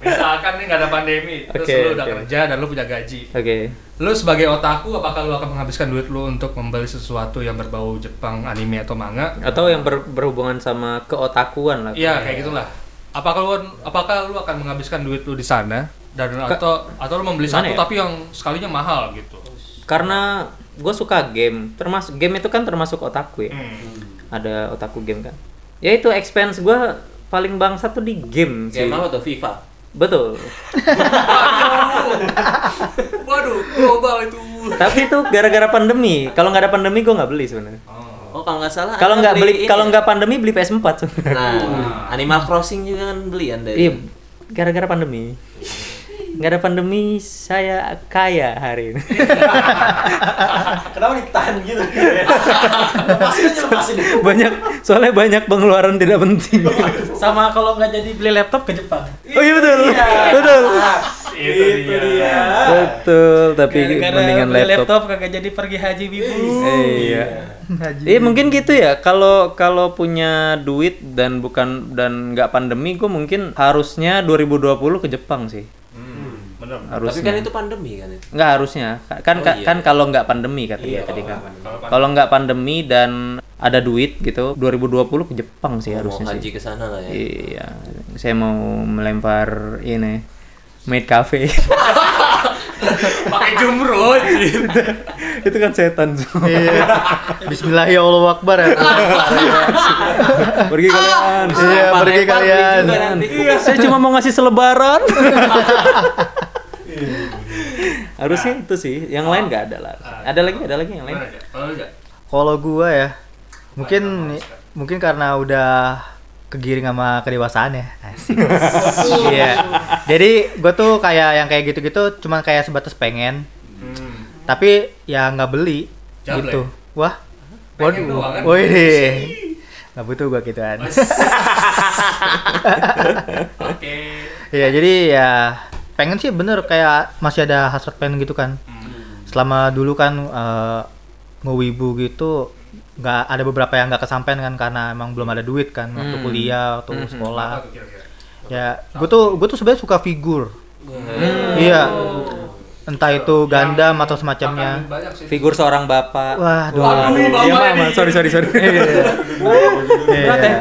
A: misalkan nih nggak ada pandemi terus
C: Oke,
A: lu udah
C: oke.
A: kerja dan lu punya gaji
C: Oke.
A: lu sebagai otaku apakah lu akan menghabiskan duit lu untuk membeli sesuatu yang berbau Jepang anime atau manga
C: Atau yang ber- berhubungan sama keotakuan lah.
A: iya kayak gitulah apakah lu apakah lu akan menghabiskan duit lu di sana dan atau atau lu membeli
C: Gimana
A: satu
C: ya?
A: tapi yang sekalinya mahal gitu
C: Karena gue suka game. Termasuk game itu kan termasuk otaku ya. Ada otaku game kan. Ya itu expense gue paling bangsa tuh di game sih.
D: Game apa tuh FIFA?
C: Betul.
A: waduh global itu
C: Tapi itu gara-gara pandemi. Kalau nggak ada pandemi gue nggak beli sebenarnya.
D: Oh kalau nggak salah.
C: Kalau
D: Anda
C: nggak beli,
D: ini. ya?
C: kalau nggak pandemi beli PS4 [laughs] sebenarnya.
D: Iya. Nah, Animal Crossing juga kan beli ya, anda.
C: Iya, gara-gara pandemi. Iya, nggak ada pandemi saya kaya hari ini [laughs]
F: Kenapa ditahan gitu? [laughs] lepasin aja lepasin.
C: banyak soalnya banyak pengeluaran tidak penting
B: Sama kalau nggak jadi beli laptop ke Jepang.
C: oh iya betul betul
F: Itu dia.
C: betul tapi
B: Gara-gara
C: mendingan
B: beli
C: laptop
B: kagak jadi pergi haji bibu.
C: iya iya mungkin gitu ya kalau kalau punya duit dan bukan dan nggak pandemi gue mungkin harusnya 2020 ke Jepang sih
F: Hmm,
A: bener.
D: Tapi kan
C: harusnya
D: itu pandemi kan itu.
C: nggak harusnya kan
D: Oh, iya.
C: kan kalau nggak pandemi kata dia tadi kan kalau nggak pandemi dan ada duit gitu 2020 ke Jepang sih
D: Mau
C: harusnya sih
D: haji ke sana lah ya.
C: Iya, saya mau melempar ini maid cafe.
A: Pakai jumroh anjir.
C: itu kan setan semua.
E: Iya. Bismillah ya Allah Akbar ya.
C: Pergi kalian. Iya.
E: Iya, pergi kalian.
C: Saya cuma mau ngasih selebaran. Harusnya itu sih. Yang lain nggak ada lah. Ada lagi, ada lagi yang lain.
A: Gimana, Jak? ya? Kalau lu, Jak?
E: Kalau gua ya, mungkin mungkin karena udah kegiring sama kedewasaan ya. Asik. Iya. Jadi gua tuh kayak yang kayak gitu-gitu cuman kayak sebatas pengen,
A: Hmm.
E: tapi ya nggak beli
A: Jablek.
E: gitu. Wah.
A: Pengen doang kan?
E: Wih. deh. Nggak butuh gua gituan. [laughs]
A: Oke.
E: Iya, jadi ya pengen sih bener kayak masih ada hasrat pengen gitu kan.
A: Hmm.
E: Selama dulu kan eh, ngewibu gitu nggak ada beberapa yang nggak kesampaian kan karena emang belum ada duit kan waktu kuliah waktu sekolah
A: Hmm, Apa tuh kira-kira?
E: ya gue tuh gue tuh sebenarnya suka figur
A: Hmm.
E: iya
A: Oh.
E: entah itu Gundam atau
A: Makan
E: semacamnya
A: banyak sih.
C: Figur seorang bapak.
E: wah aduh.
A: Waduh, Bapak
C: Iya, Mama.
A: ini.
C: Sorry, sorry, sorry.
E: Iya,
C: Berat ya?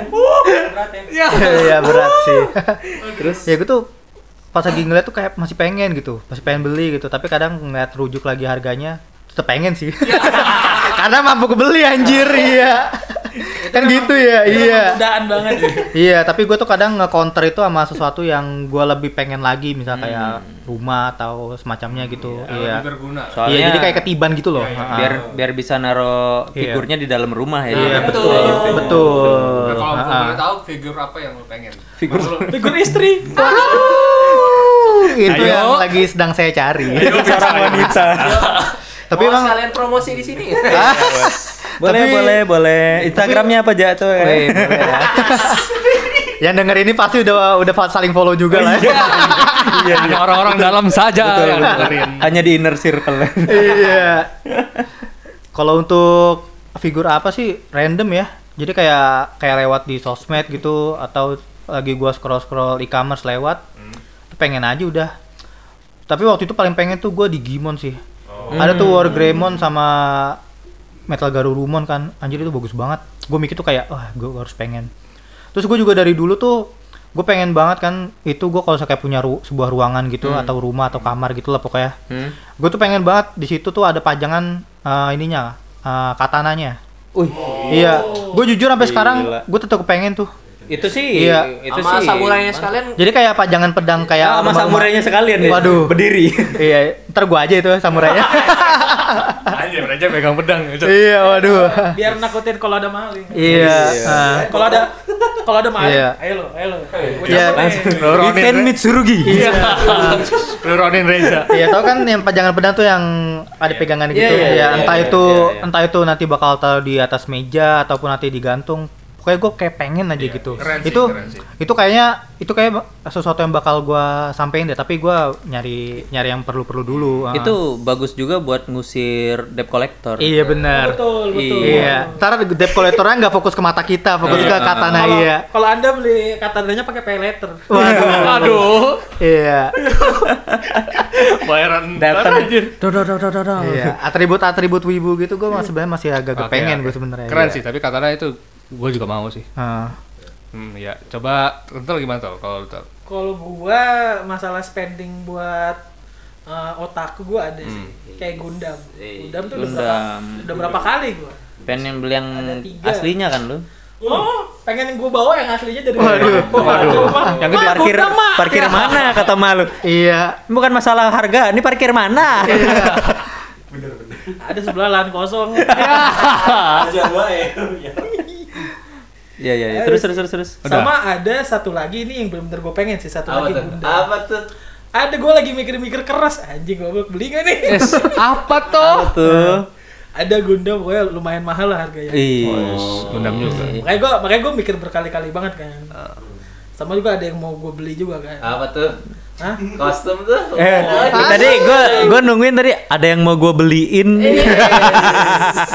E: iya Iya, berat sih
C: [laughs] Terus
E: ya gue tuh pas lagi ngeliat tuh kayak masih pengen gitu masih pengen beli gitu tapi kadang ngeliat rujuk lagi harganya tetep pengen sih [laughs] karena mampu kebeli anjir iya kan gitu ya iya
B: Mudaan banget.
E: iya tapi gue tuh kadang nge-counter itu sama sesuatu yang gue lebih pengen lagi misal kayak rumah atau semacamnya gitu
A: Yang
E: iya
C: Ya.
A: lebih berguna.
E: iya
C: soalnya
E: jadi kayak ketiban gitu loh Ha-ha.
C: biar biar bisa naro
E: Iya.
C: figurnya di dalam rumah ya.
E: iya
C: Iya.
E: betul betul
A: Nah, kalau
E: Ha-ha.
A: boleh tahu figur apa yang lu
C: [laughs]
A: pengen?
C: Figur-
A: Maksud lu-
B: Figur istri.
E: itu
C: Ayo.
E: Gitu yang lagi sedang saya cari
C: Seorang wanita.
E: tapi
D: Mau
E: emang
D: sekalian promosi di sini. ya?
C: Iya. boleh,
E: Tapi-
C: boleh, boleh. Instagramnya apa aja tuh?
E: Weh, boleh ya. Yang denger ini pasti udah udah saling follow juga lah. ya.
A: [laughs] Hanya orang-orang dalam saja yang dengerin.
C: [laughs] Hanya di inner circle.
E: Iya. [laughs] Kalau untuk figur apa sih random ya? Jadi kayak kayak lewat di sosmed gitu atau lagi gua scroll scroll e-commerce lewat, pengen aja udah. Tapi waktu itu paling pengen tuh gua di Gimon sih. Ada tuh Wargreymon sama Metal Garurumon kan, anjir itu bagus banget. Gue mikir tuh kayak, wah gue harus pengen. Terus gue juga dari dulu tuh gue pengen banget kan itu gue kalau kayak punya ru- sebuah ruangan gitu atau rumah atau kamar gitu lah pokoknya
C: Hmm.
E: gue tuh pengen banget di situ tuh ada pajangan eh, ininya eh, katananya
C: Wih,
E: iya gue jujur sampai sekarang gue tetap pengen tuh
C: itu sih,
E: Iya.
C: itu
D: Sama
C: sih.
D: samurainya sekalian
E: jadi kayak pajangan pedang kayak
C: Ya, sama
E: rumah-rumah.
C: samurainya sekalian deh.
E: Waduh.
C: berdiri.
E: iya ntar gue aja itu
C: [laughs]
E: samurainya
A: Anjir, aja pegang pedang. Cok.
E: iya waduh
B: Biar nakutin kalau ada maling.
E: iya ah.
B: Kalau ada kalau ada maling,
E: Iya.
B: ayo lo, ayo lo.
E: iya
C: Eh, We
A: Noronin,
C: can meet Surugi. Iya.
A: Noronin Reza.
E: Iya, tau kan yang pajangan pedang tuh yang ada pegangan gitu.
C: Iya,
E: ya
C: iya, iya,
E: entah
C: iya,
E: itu
C: iya, iya.
E: entah itu nanti bakal taruh di atas meja ataupun nanti digantung. Pokoknya gue kayak pengen aja gitu.
A: keren sih,
E: itu
A: keren sih.
E: itu kayaknya itu kayak sesuatu yang bakal gua sampein deh, tapi gua nyari nyari yang perlu-perlu dulu. ah.
C: Itu bagus juga buat ngusir debt collector.
E: Iya benar.
B: Betul, betul.
E: Iya. Ntar debt collectornya nggak fokus ke mata kita, fokus ke katana
B: Kalau
E: iya.
B: kalau Anda beli katanya pakai pay letter.
A: [laughs]
E: Waduh.
A: Aduh,
E: Iya.
A: bayaran
C: Datang. ya? Dor, dor, dor, dor, dor, dor.
E: Iya. Atribut-atribut wibu gitu gua masih sebenarnya masih agak
A: Oke,
E: kepengen
A: oke.
E: gua sebenarnya.
A: Keren
E: iya.
A: sih, tapi katanya itu gue juga mau sih.
E: Ah.
A: Hmm, ya. Coba entar gimana tuh kalau lu tahu?
B: Kalau gua masalah spending buat eh, otakku gua ada sih.
C: Hmm.
B: Kayak Gundam.
C: Iya.
B: Gundam tuh udah berapa,
C: Gundam.
B: udah berapa kali gua.
C: Pengen beli yang
B: Ada tiga.
C: aslinya kan lu?
B: Oh, pengen gua bawa yang aslinya dari
E: Waduh.
A: Yang gede.
C: parkir
B: Gundam, Mak.
C: parkir mana kata malu?
E: Iya.
C: Bukan masalah harga, ini parkir
E: [laughs]
C: mana?
B: Ada sebelah lahan kosong.
F: Aja baik.
C: Iya, iya, iya. Terus terus terus terus.
A: Udah.
B: Sama ada satu lagi ini yang belum bener gue pengen sih satu
D: apa
B: lagi
D: tuh?
B: Gundam.
D: Apa tuh?
B: Ada gue lagi mikir-mikir keras anjing gue beli gak nih?
A: Es, apa toh?
E: Nah.
C: Tuh.
B: [laughs] Ada Gundam pokoknya lumayan mahal lah harganya.
C: Iya.
E: Oh, iya.
C: Ih.
A: Gundam juga.
B: Makanya gue makanya gue mikir berkali-kali banget kan. Sama juga ada yang mau gue beli juga
F: Ah.
B: kan.
D: Apa tuh?
B: Hah?
D: Kostum tuh?
C: Eh, tadi gua gua nungguin tadi ada yang mau gua beliin.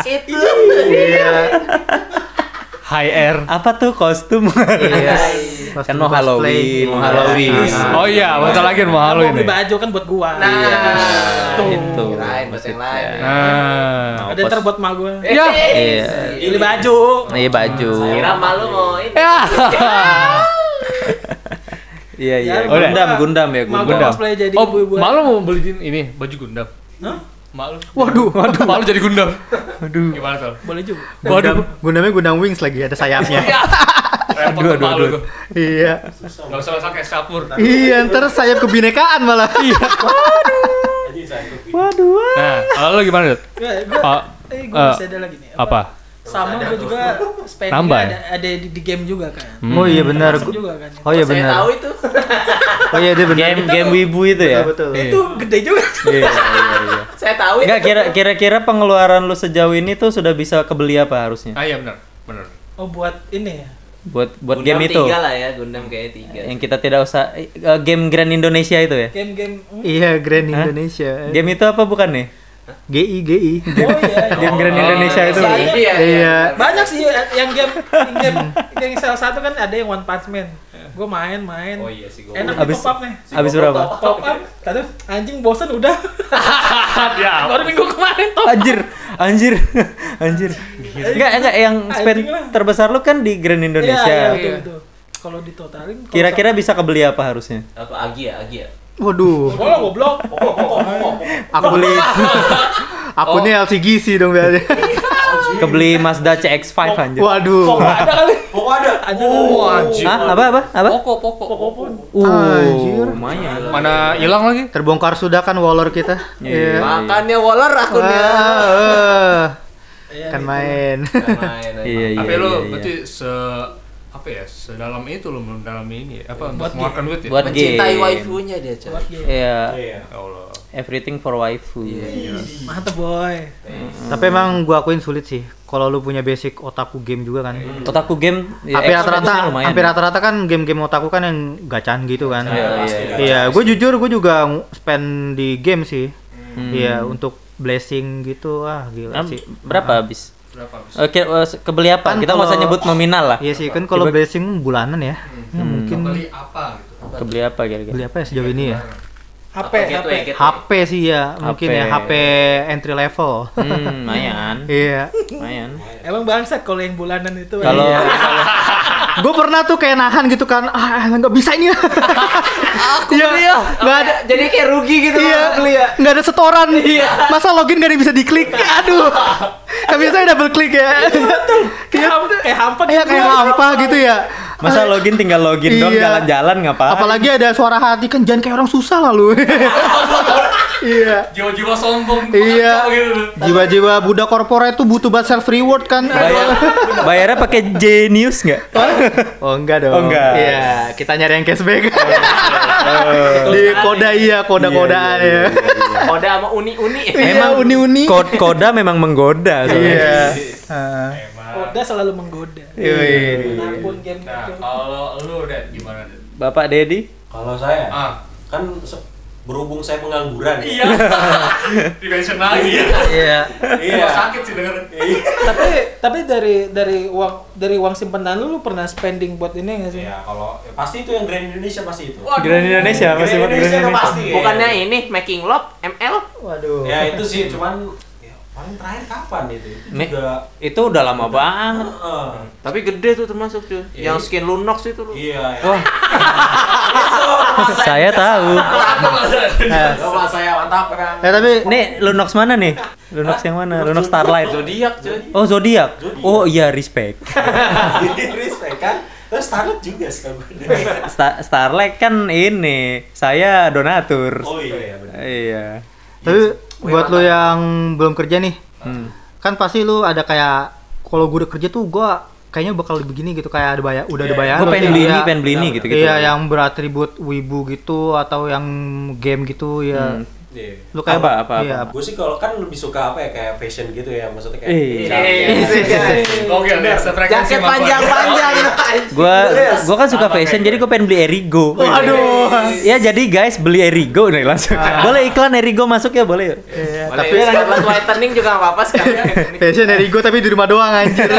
D: Itu.
A: High air.
C: Apa tuh kostum? kan mau
E: Kostum Iya. cosplay. Iya.
C: Halloween, Ah, mau Halloween.
A: Oh iya, bentar lagi mau
B: Kan
A: halo
B: mau beli
A: ini. Ah.
B: baju kan buat gua.
D: Nah,
C: Iya.
B: Tuh.
C: itu.
D: Kirain buat yang lain.
A: Nah.
B: Ada ntar buat emak gua.
A: Ya.
C: Iya.
B: Beli baju.
C: Iya baju.
D: Kira malu mau ini.
A: Ya.
C: Iya iya.
B: Ya,
C: Gundam,
B: gua-
C: Gundam ya
B: Emak
C: gua.
B: gua
A: Gundam.
B: cosplay jadi
A: Oh,
B: ibu-ibu.
A: malu mau beliin ini baju Gundam.
B: Hah?
A: Malu. Waduh, waduh. Malu jadi Gundam. Waduh. Gimana tuh?
B: Boleh juga.
E: Gundam,
A: Waduh.
E: Gundamnya Gundam Wings lagi ada sayapnya.
A: Repot
C: Aduh,
A: tuh
C: aduh,
A: malu
C: aduh.
A: tuh.
E: iya.
A: Gak usah pakai kapur.
E: Iya, ntar sayap kebinekaan malah. Waduh.
A: Nah, kalau lu gimana, Dut?
B: Ya, gua,
A: Pak,
B: eh, gua
A: eh,
B: masih ada lagi nih.
A: Apa?
B: Sama gua juga spending
A: Nambah ya?
B: ada, ada di, di game juga kan.
E: Oh iya benar.
B: Masuk juga kan.
E: Oh iya
D: Saya tahu
E: benar.
C: [laughs]
D: itu.
E: Oh iya dia benar.
C: Game game wibu itu ya.
E: Iya, Betul.
B: Itu gede juga.
C: Iya iya iya.
D: Saya tahu itu.
C: Enggak kira kira-kira pengeluaran lu sejauh ini tuh sudah bisa kebeli apa harusnya?
A: Ah iya benar, benar.
B: Oh buat ini ya.
C: Buat buat
D: Gundam
C: game itu.
D: tiga lah ya, Gundam kayaknya tiga.
C: Yang kita tidak usah eh, eh, game Grand Indonesia itu ya.
B: Game-game. hmm.
E: Iya, Grand Indonesia.
C: Game itu apa bukan nih?
E: GI GI.
B: Oh iya.
C: Game Grand Indonesia itu.
D: Iya, iya,
E: Iya.
B: Banyak sih ya, yang game yang game yang salah satu kan ada yang One Punch Man. Gua main main.
D: Iya. Oh iya sih, gua-
B: Enak
C: Abis-
B: di top up nih.
C: Habis berapa?
B: Top up. Tadi anjing bosen udah. [laughs]
A: Ya.
B: Baru minggu kemarin top.
C: Anjir, anjir, anjir. Enggak, enggak yang spend
B: Anjing lah.
C: terbesar lu kan di Grand
B: Iya,
C: Indonesia.
B: iya, betul, betul. Kalau ditotalin kalau
C: Kira-kira bisa kebeli apa harusnya?
D: Apa Agi ya, Agi ya?
E: Waduh.
B: Gua goblok.
E: Aku li. Aku nih LCGC dong berarti.
C: Kebeli Mazda CX-5 anjir.
E: Waduh.
B: Nggak ada kali.
F: Pokok ada.
B: Ada.
A: anjing.
C: Hah? Apa apa? Apa?
A: Pokok, pokok, pokok.
E: Anjir.
C: Uh, lumayan.
A: Mana hilang lagi?
E: Terbongkar sudah kan Waller kita. Iya.
D: Makannya Waller akunnya.
E: Wah, eh.
B: Iya,
E: Kan main.
D: Nggak main, emang.
C: Iya, iya.
A: Tapi
C: iya,
A: ya, lu
C: iya.
A: berarti se apa ya? Sedalam itu lu mendalami ini ya? Apa
B: Buat
A: untuk mengeluarkan duit ya?
C: Buat
D: Mencintai
C: game.
D: waifunya dia, coy.
B: Buat game.
C: Iya,
F: Iya.
A: Ya Allah.
C: everything for waifu.
B: Mantap boy.
E: Tapi emang gua akuin sulit sih. Kalau lu punya basic otaku game juga kan.
C: Otaku game ya,
E: hampir
C: X
E: rata-rata
C: bagusnya lumayan. ya.
E: hampir rata-rata kan game-game otaku kan yang gacan gitu kan
C: Iya, iya,
E: iya gue jujur gue juga ng- spend di game sih iya untuk blessing gitu ah gila
C: Am-
E: sih
C: berapa habis?
A: Berapa? habis?
C: Oke, eh, kebeli apa?
E: Ah. Kan
C: Kita nggak usah
E: kalau-
C: nyebut nominal lah.
E: iya sih kan kalau
C: Tiba-
E: blessing bulanan ya Ya, mungkin
A: Beli apa gitu?
C: Kebeli apa kira-kira?
E: beli apa ya sejauh ini ya
B: HP,
D: Apa gitu
B: HP.
D: gateway, gateway?
E: HP sih ya mungkin ya HP entry level
C: Hmm, lumayan.
E: [laughs] iya
C: Lumayan.
B: Emang bangsat kalau yang bulanan itu. iya.
C: Kalau
E: gue pernah tuh kayak nahan gitu kan ah nggak bisa ini aku ya nggak ada
D: Jadi kayak rugi gitu
E: Iya,
D: Bang, beli ya.
E: nggak ada setoran. Masa login nggak bisa diklik? Aduh, kan biasanya double klik ya.
B: kayak hampa, kayak hampa
E: Iya
B: gitu.
E: kayak apa gitu ya.
C: masa login tinggal login dong
E: Iya.
C: jalan-jalan ngapa?
E: Apalagi ada suara hati kan jangan kayak orang susah lalu. iya.
A: Jiwa-jiwa sombong.
E: Iya.
A: kacau gitu.
E: Jiwa-jiwa budak korporat tuh butuh banget self reward kan.
C: Bayar, bayarnya pakai genius nggak?
E: Oh enggak dong.
C: Oh, enggak.
E: Iya, kita nyari yang cashback. [laughs]
C: Eh,
E: Di koda iya, koda-kodaan
C: Iya,
E: ya.
D: Koda sama uni-uni.
E: Emang Iya, uni-uni.
C: Kod koda memang menggoda. soalnya.
E: Iya. Heeh.
B: Koda selalu menggoda.
E: Iya, Yoi.
B: Manapun game
A: Nah,
B: itu.
A: kalau lu udah gimana? Dad?
C: Bapak Dedi,
F: Kalau saya
A: Ah,
F: kan se- berhubung saya pengangguran. ya.
A: iya. Dimension lagi ya.
E: Iya.
A: Iya.
F: Iya.
A: Sakit sih denger.
B: tapi tapi dari dari uang dari uang simpanan lu lu pernah spending buat ini nggak sih?
F: Iya, kalau ya, pasti itu yang Grand Indonesia pasti itu.
A: Waduh.
C: Grand Indonesia masih buat Grand
F: itu
C: Indonesia.
F: pasti. ya.
D: Bukannya Nah, ini making love ML?
E: Waduh.
F: Ya itu sih, cuman ya, paling terakhir kapan itu? Itu
C: Me-
F: juga eh,
C: itu udah lama banget. [laughs]
F: Heeh.
D: Tapi gede tuh termasuk tuh.
F: Iya.
D: Yang skin Lunox itu lu.
F: Iya. ya.
C: Wah. Saya tahu. Nah.
E: Eh,
F: Gak apa, saya mantap kan.
E: Eh tapi
C: Ya, Nih Lunox mana nih? Lunox yang mana? Lunox Starlight.
D: Zodiak cuy.
C: Oh zodiak.
F: Zodiac.
C: Oh iya respect. [laughs]
F: Jadi [laughs] respect kan. Terus Starlet juga setahu gue.
C: [laughs] Sta- Starlight kan ini saya donatur.
F: Oh iya, iya benar.
C: Iya. Hmm.
E: tapi buat lo yang belum kerja nih. Kan pasti lu ada kayak kalau gue udah kerja tuh gua kayaknya bakal begini gitu kayak ada bayar udah ada
A: Iya,
E: bayaran
C: Gue pengen beli ini,
E: Iya.
C: pengen beli ini gitu-gitu.
E: Iya, yang beratribut wibu gitu atau yang game gitu ya.
C: Hmm.
F: Iya.
E: Lu kayak
C: Apa, apa,
E: iya,
C: apa?
F: Gue sih kalau kan lebih suka apa ya kayak fashion gitu ya maksudnya kayak
C: Iya.
A: Oke, oke, sefrekuensi
D: Jaket
A: sama gua.
D: panjang-panjang.
C: Gua gua kan suka
A: Sama
C: fashion
A: kayak
C: jadi gua pengen beli Erigo. Waduh. Ya jadi guys beli Erigo nih langsung. Boleh iklan Erigo masuk ya boleh.
E: Iya,
D: Boleh,
E: tapi
D: Scarlet whitening juga nggak apa-apa sekarang.
E: fashion dari gue tapi di rumah doang anjir.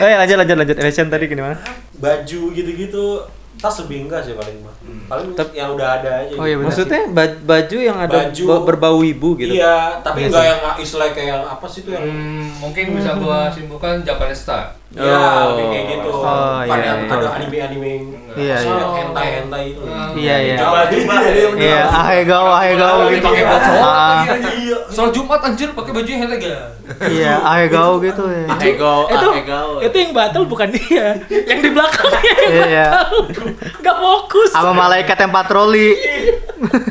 C: Eh lanjut lanjut lanjut fashion tadi gimana?
F: baju gitu-gitu tas lebih enggak sih paling mah paling
C: Tep-
F: yang udah ada aja
E: Oh, iya,
F: gitu.
E: benar.
C: Maksudnya ba- baju yang ada
F: Baju.
C: ba- berbau ibu gitu.
F: iya tapi
E: Iya
F: enggak
E: sih.
F: yang istilah kayak yang apa sih tuh yang
A: Hmm, mungkin bisa gua simpulkan Japanese style.
F: ya
C: Oh.
F: lebih kayak gitu
E: Oh,
F: Bukan
E: iya,
F: yang
E: iya.
F: ada anime-anime yang
E: Iya,
F: maksudnya
E: iya.
F: yang hentai-hentai itu
E: Iya, iya.
F: Coba coba
E: Iya, ahegao ahegao gitu.
A: Dipakai buat sholat
E: Ah,
A: lagi anjir.
F: iya.
A: Sholat Jumat anjir pakai baju yang lagi.
E: Iya, ahegao gitu ya.
D: Ahegao,
B: itu
D: ahegao.
B: itu yang batal bukan dia yang di belakangnya yang
E: Iya.
B: batal. nggak fokus
E: Sama malaikat yang patroli.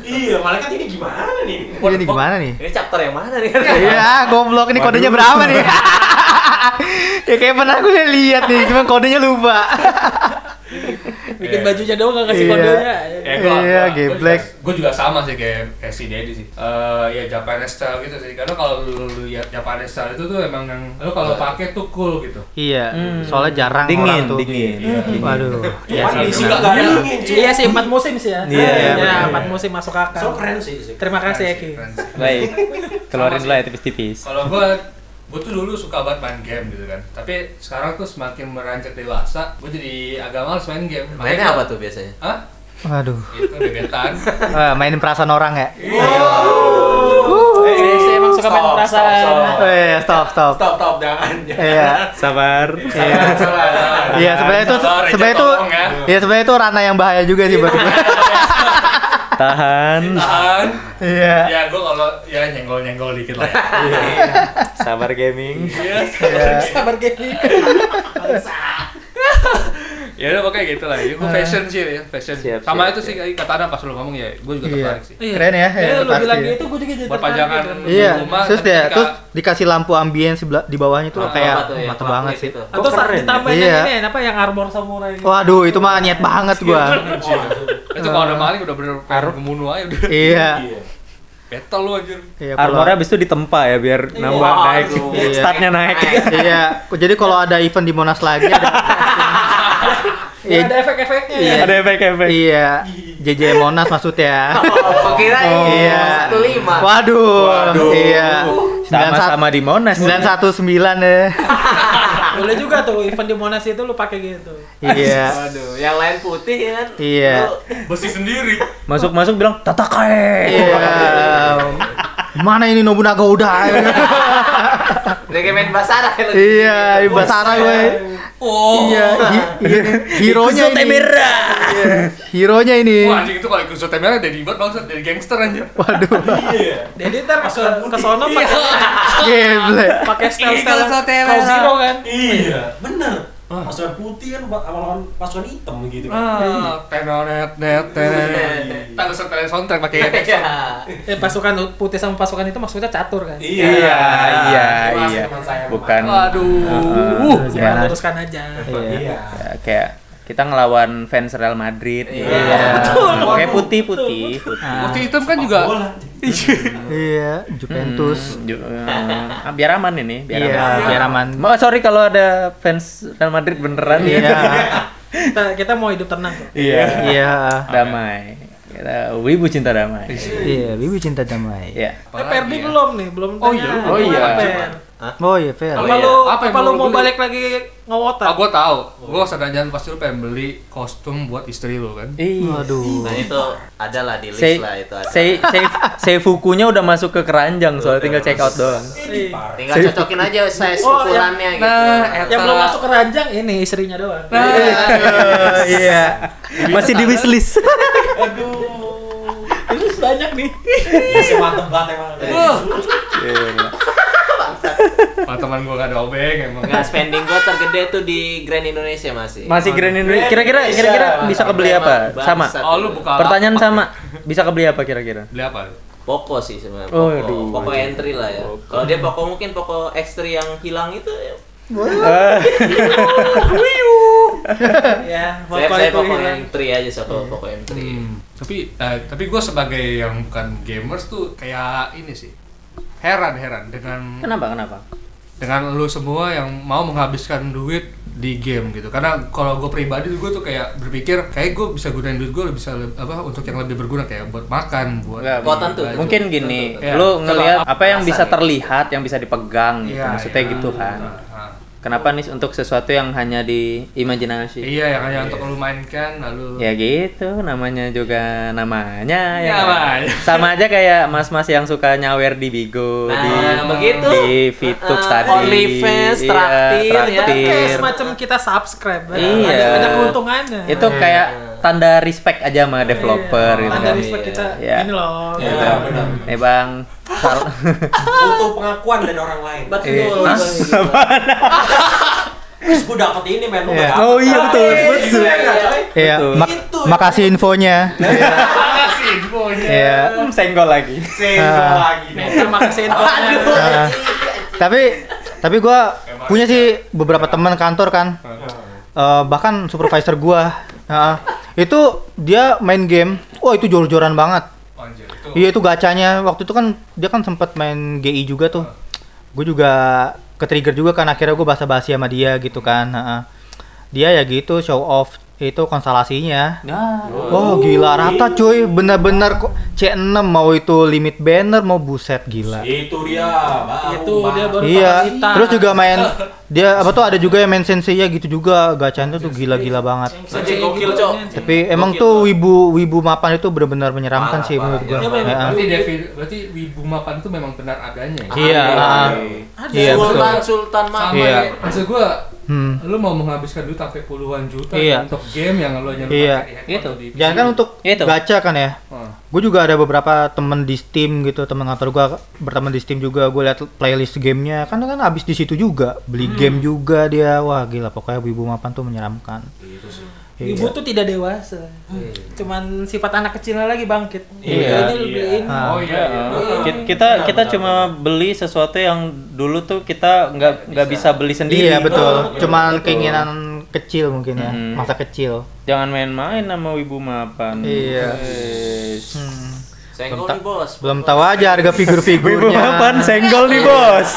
F: iya malaikat ini gimana nih
E: Ini nih gimana nih?
D: Ini chapter yang mana nih?
E: Iya, goblok ini kodenya berapa nih? [laughs] ya kayak pernah gue lihat nih, cuma kodenya lupa.
B: bikin bajunya doang nggak kasih
E: Iya.
B: kodenya
A: Eh,
E: Iya, geblek.
A: Gue juga sama sih kayak kayak si Dedi sih. Eh ya Japanese style gitu sih. Karena kalau lu, lu lihat Japanese style itu tuh emang yang lu kalau pakai tuh cool gitu.
E: Iya, soalnya jarang orang
C: Dingin,
E: tuh.
C: dingin.
E: Waduh.
A: Iya
F: Cuman
A: sih,
F: di sini
A: benar.
F: nggak dingin cuy
B: iya sih empat musim sih ya
C: Iya, iya,
B: Ya,
E: betul.
B: empat musim masuk
F: so
B: akal
F: keren sih sih
B: terima kasih Eki
A: Keren sih.
C: [laughs] Baik. Keluarin dulu ya tipis-tipis.
A: Kalau gue, gue tuh dulu suka banget main game gitu kan. Tapi sekarang tuh semakin meranjak dewasa, gue jadi agak males main game.
D: Mainnya apa tuh biasanya?
A: Hah? Gitu,
E: Waduh.
A: Itu [laughs] debetan.
E: Eh, mainin perasaan orang ya?
B: Eh, saya emang suka main
F: Stop,
B: perasaan.
F: stop, stop.
E: Eh, stop, stop.
F: stop stop jangan
E: Iya.
C: Sabar.
F: Jangan, jangan.
E: Iya, sebenarnya itu
A: Sabar, Reja,
E: sebenarnya itu
A: tolong ya.
E: Iya, sebenarnya itu ranah yang bahaya juga sih buat Iya. gue.
C: Tahan.
A: Tahan.
E: Iya.
A: Ya gue kalau ya nyenggol-nyenggol dikit lah. ya.
C: Sabar gaming.
A: Iya.
B: sabar Geki
A: [laughs] ya udah pokoknya gitu lah. Gue fashion sih ya, fashion.
C: Siap,
A: Sama
C: siap,
A: itu sih kayak kata Ana pas lu ngomong ya, gue juga
E: Iya.
A: tertarik sih.
E: Keren ya, ya,
B: lu
E: pasti
B: bilang
E: ya.
B: gitu gue juga jadi
A: Buat pajangan.
B: tertarik gitu.
E: Iya,
A: Cuma
E: terus dia
A: ketika-
E: terus dikasih lampu ambien sebela- di bawahnya tuh
D: Ah,
E: kayak
D: apa tuh ya,
E: mata
D: lampu
E: banget
D: itu
E: sih.
D: tuh.
B: atau
C: Kok
B: saat
C: keren?
B: ditambahin
E: Iya.
B: yang ini apa yang armor samurai gitu.
E: Waduh, itu mah niat banget gua.
A: Itu kalau ada maling udah bener pengen membunuh aja udah.
E: Iya.
F: Iya.
A: Battle lu anjir.
E: Iya, kalau-
C: Armornya abis itu ditempa ya biar nambah
D: Waduh.
C: naik.
E: Iya.
C: Statnya naik.
E: [laughs] Iya, jadi kalau ada event di Monas lagi
C: [laughs]
E: ada
B: Ya, ada
E: Iya,
B: efek-efeknya
E: Iya.
B: ya.
C: Ada efek-efek.
E: iya. JJ Monas
C: [laughs]
E: maksudnya.
D: Oh, kira
E: Iya.
D: satu lima.
E: Waduh. Iya.
C: Sama-sama di Monas.
E: 919
C: [laughs]
E: ya.
B: boleh juga tuh event di monas itu lu pakai gitu
E: Iya.
D: Waduh, yang lain putih ya kan?
E: Iya.
D: Lu-
A: Besi sendiri.
C: Masuk-masuk bilang tatakae.
E: Iya. Mana ini Nobunaga udah?
D: Udah kayak main basara ya lu.
E: [laughs] iya, basara gue.
A: Oh.
E: Iya, hero nya
C: Ikuzo
E: ini.
C: Temera.
E: Hero nya ini.
A: Wah anjing itu kalau ikut temera dari banget bangsat dari gangster anjir.
E: Waduh.
F: Iya,
B: jadi ntar ke ke sono pakai
E: Geblek.
B: pakai style style
A: Eagle Sotera.
B: kau zero kan
F: Iya, bener. Pasukan putih kan sama lawan pasukan hitam gitu kan.
A: Ah, tenonet net tenet. Tak usah tele soundtrack pakai efek
D: Iya.
B: eh pasukan putih sama pasukan itu maksudnya catur kan
F: Iya,
C: iya,
F: Mas,
C: iya.
F: teman saya, Mas.
C: Bukan.
A: Waduh.
B: cuma
C: Iya.
B: luruskan aja
F: Iya.
C: Ya, kayak kita ngelawan fans Real Madrid gitu.
D: Iya.
C: Pakai putih-putih.
A: Putih hitam kan juga.
F: Bola.
E: Iya, Juventus.
C: Hmm. eh, ah, biar aman ini, biar
E: Iya,
C: aman.
E: biar aman.
C: Ma- sorry kalau ada fans Real Madrid beneran
E: Iya.
B: kita kita mau hidup tenang kok
C: [laughs] Iya.
E: Iya.
C: Damai. Kita wibu cinta damai.
E: Iya, Bibi cinta damai.
C: Iya.
B: eh Perdi belum nih belum
A: Oh
B: tanya.
A: iya,
C: oh
B: Gimana,
C: iya.
B: Per?
E: Oh iya, fair.
B: apa
D: iya.
B: lu
A: Apa
B: apa,
A: yang mau
B: lu
A: lu
B: mau
A: beli?
B: balik lagi
A: Ah,
B: ngowotan
A: gue tahu. Gue jangan pasti lu pengen beli kostum buat istri lu kan.
C: Iya.
E: Waduh.
D: Nah itu ada lah di list
C: Sei,
D: lah itu ada.
C: sei, sei, seifukunya udah masuk ke keranjang soalnya tinggal check out doang.
B: Iya.
D: Tinggal cocokin aja size
B: Oh,
D: ukurannya gitu.
A: Nah, eh,
B: yang belum masuk keranjang ini istrinya doang
A: Nah,
C: [laughs]
E: Iya.
C: Masih di wishlist.
F: Aduh.
B: ini banyak nih
F: Masih mantep banget emang.
A: Wah. Pak teman gue gak ada obeng emang. [laughs]
D: Enggak spending gua tergede tuh di Grand Indonesia masih.
C: Masih Grand Indonesia. Kira-kira kira-kira Iya, bisa kebeli apa? Sama.
A: Oh lu buka
C: Pertanyaan sama. Bisa kebeli apa kira-kira?
A: Beli apa lu?
D: Poco sih sebenarnya.
C: Oh,
D: Poco,
C: aduh.
D: Poco entry lah ya. Kalau dia Poco mungkin Poco extra yang hilang itu ya
C: Eh.
D: [laughs]
B: ya
D: saya
B: pokoknya
D: saya
B: itu
D: pokok
B: hilang.
D: M3 aja soko pokok M3
C: Hmm.
A: tapi eh, tapi gue sebagai yang bukan gamers tuh kayak ini sih heran heran dengan
C: Kenapa? Kenapa?
A: dengan lu semua yang mau menghabiskan duit di game gitu karena kalau gue pribadi gue tuh kayak berpikir kayak gue bisa gunain duit gue bisa le- apa untuk yang lebih berguna kayak buat makan buat
C: Nggak,
D: Kok tentu?
A: baju.
C: Mungkin gitu, gini,
A: Iya.
C: lu ngelihat apa yang bisa
D: Alasan ya.
C: terlihat, yang bisa dipegang gitu.
A: Iya,
C: Maksudnya
A: iya.
C: gitu kan.
A: Nah,
C: Kenapa nih untuk sesuatu yang hanya di imajinasi?
A: iya yang hanya untuk lu mainkan lalu
C: Ya gitu, namanya juga namanya ya.
A: Namanya.
C: Sama aja kayak mas-mas yang suka nyawer di Bigo, di
D: Nah, begitu.
C: di Vtube
D: Ah,
C: tadi.
D: OnlyFans,
C: Iya,
D: traktir, ya.
B: kayak
C: traktir.
B: semacam kita subscribe ada-
C: Iya.
B: ada, ada keuntungannya
C: Itu kayak tanda respect aja sama developer
B: Iya.
C: gitu
B: Tanda
C: kan.
B: respect kita
C: Iya.
B: ini loh
F: Ya,
C: Gitu.
F: benar.
C: Eh Bang, sal-
F: butuh pengakuan dari orang lain.
D: betul
C: Hah?
F: Terus gue dapet ini men, lu nggak
C: Oh
F: dapet.
C: iya betul,
F: Gitu
C: betul.
F: ya nggak, coy?
E: Iya,
C: Betul.
E: mak-
F: Itu.
E: makasih infonya.
A: makasih infonya
E: Iya. Ah.
C: Hmm, Senggol lagi.
F: Senggol lagi nih.
B: terima kasih infonya
E: Nah, tapi tapi gua punya sih beberapa teman kantor kan. Eh, bahkan supervisor gua. Heeh. itu dia main game. Wah, itu jor-joran banget.
A: Anjir, itu
E: Iya, itu gacanya. Waktu itu kan dia kan sempat main GI juga tuh. Gue juga ke-trigger juga kan akhirnya gue basa-basi sama dia gitu kan. Heeh. Dia ya gitu show off itu konstelasinya. Wah gila rata cuy, bener-bener kok C6 mau itu limit banner mau buset gila.
F: Itu dia, baru,
B: itu dia
F: baru.
B: baru
E: Iya,
B: pakai hitam.
E: terus juga main dia apa tuh ada juga yang main sensei ya gitu juga gacanya tuh gila-gila banget.
B: Yang
D: Anjing,
B: gitu,
D: gokil, Cok.
B: anjing.
E: Tapi emang tuh wibu wibu mapan itu benar-benar menyeramkan
D: Parah,
E: sih menurut gua.
D: parah.
B: Iya,
E: Heeh.
A: berarti Devi berarti Wibu Mapan itu memang benar adanya ya?
E: Iya,
D: Ada.
E: ah.
B: Ada.
E: Iya, betul.
D: Sultan Sultan Mama
E: Iya.
D: ya.
A: maksud gua
E: Hmm.
A: lu mau menghabiskan duit sampai puluhan juta
E: Iya.
A: untuk game yang lu hanya lu
E: Iya.
A: pakai di handphone
C: Gitu.
A: atau di PC.
E: Jangan kan untuk
C: Ya itu.
E: gacha kan ya.
A: Hmm.
E: Gue juga ada beberapa temen di Steam gitu, temen kantor gua berteman di Steam juga, gue liat playlist gamenya, kan kan abis di situ juga, beli
A: Hmm.
E: game juga dia, wah gila pokoknya wibu mapan tuh menyeramkan. Iya.
B: Ibu tuh tidak dewasa. Cuman sifat anak kecilnya lagi bangkit.
E: Iya.
B: Ini lebih
F: Iya.
B: ini.
E: Ah.
A: oh iya, iya.
C: Ki- kita kita cuma beli sesuatu yang dulu tuh kita nggak nggak bisa beli sendiri.
E: Iya betul, cuman keinginan kecil mungkin ya,
C: Mhm.
E: masa kecil.
C: Jangan main-main sama wibu mapan.
E: Iya.
C: Yes.
E: Hmm.
D: Senggol nih bos.
E: Belum tahu aja harga figur-figurnya.
C: Wibu mapan senggol nih bos.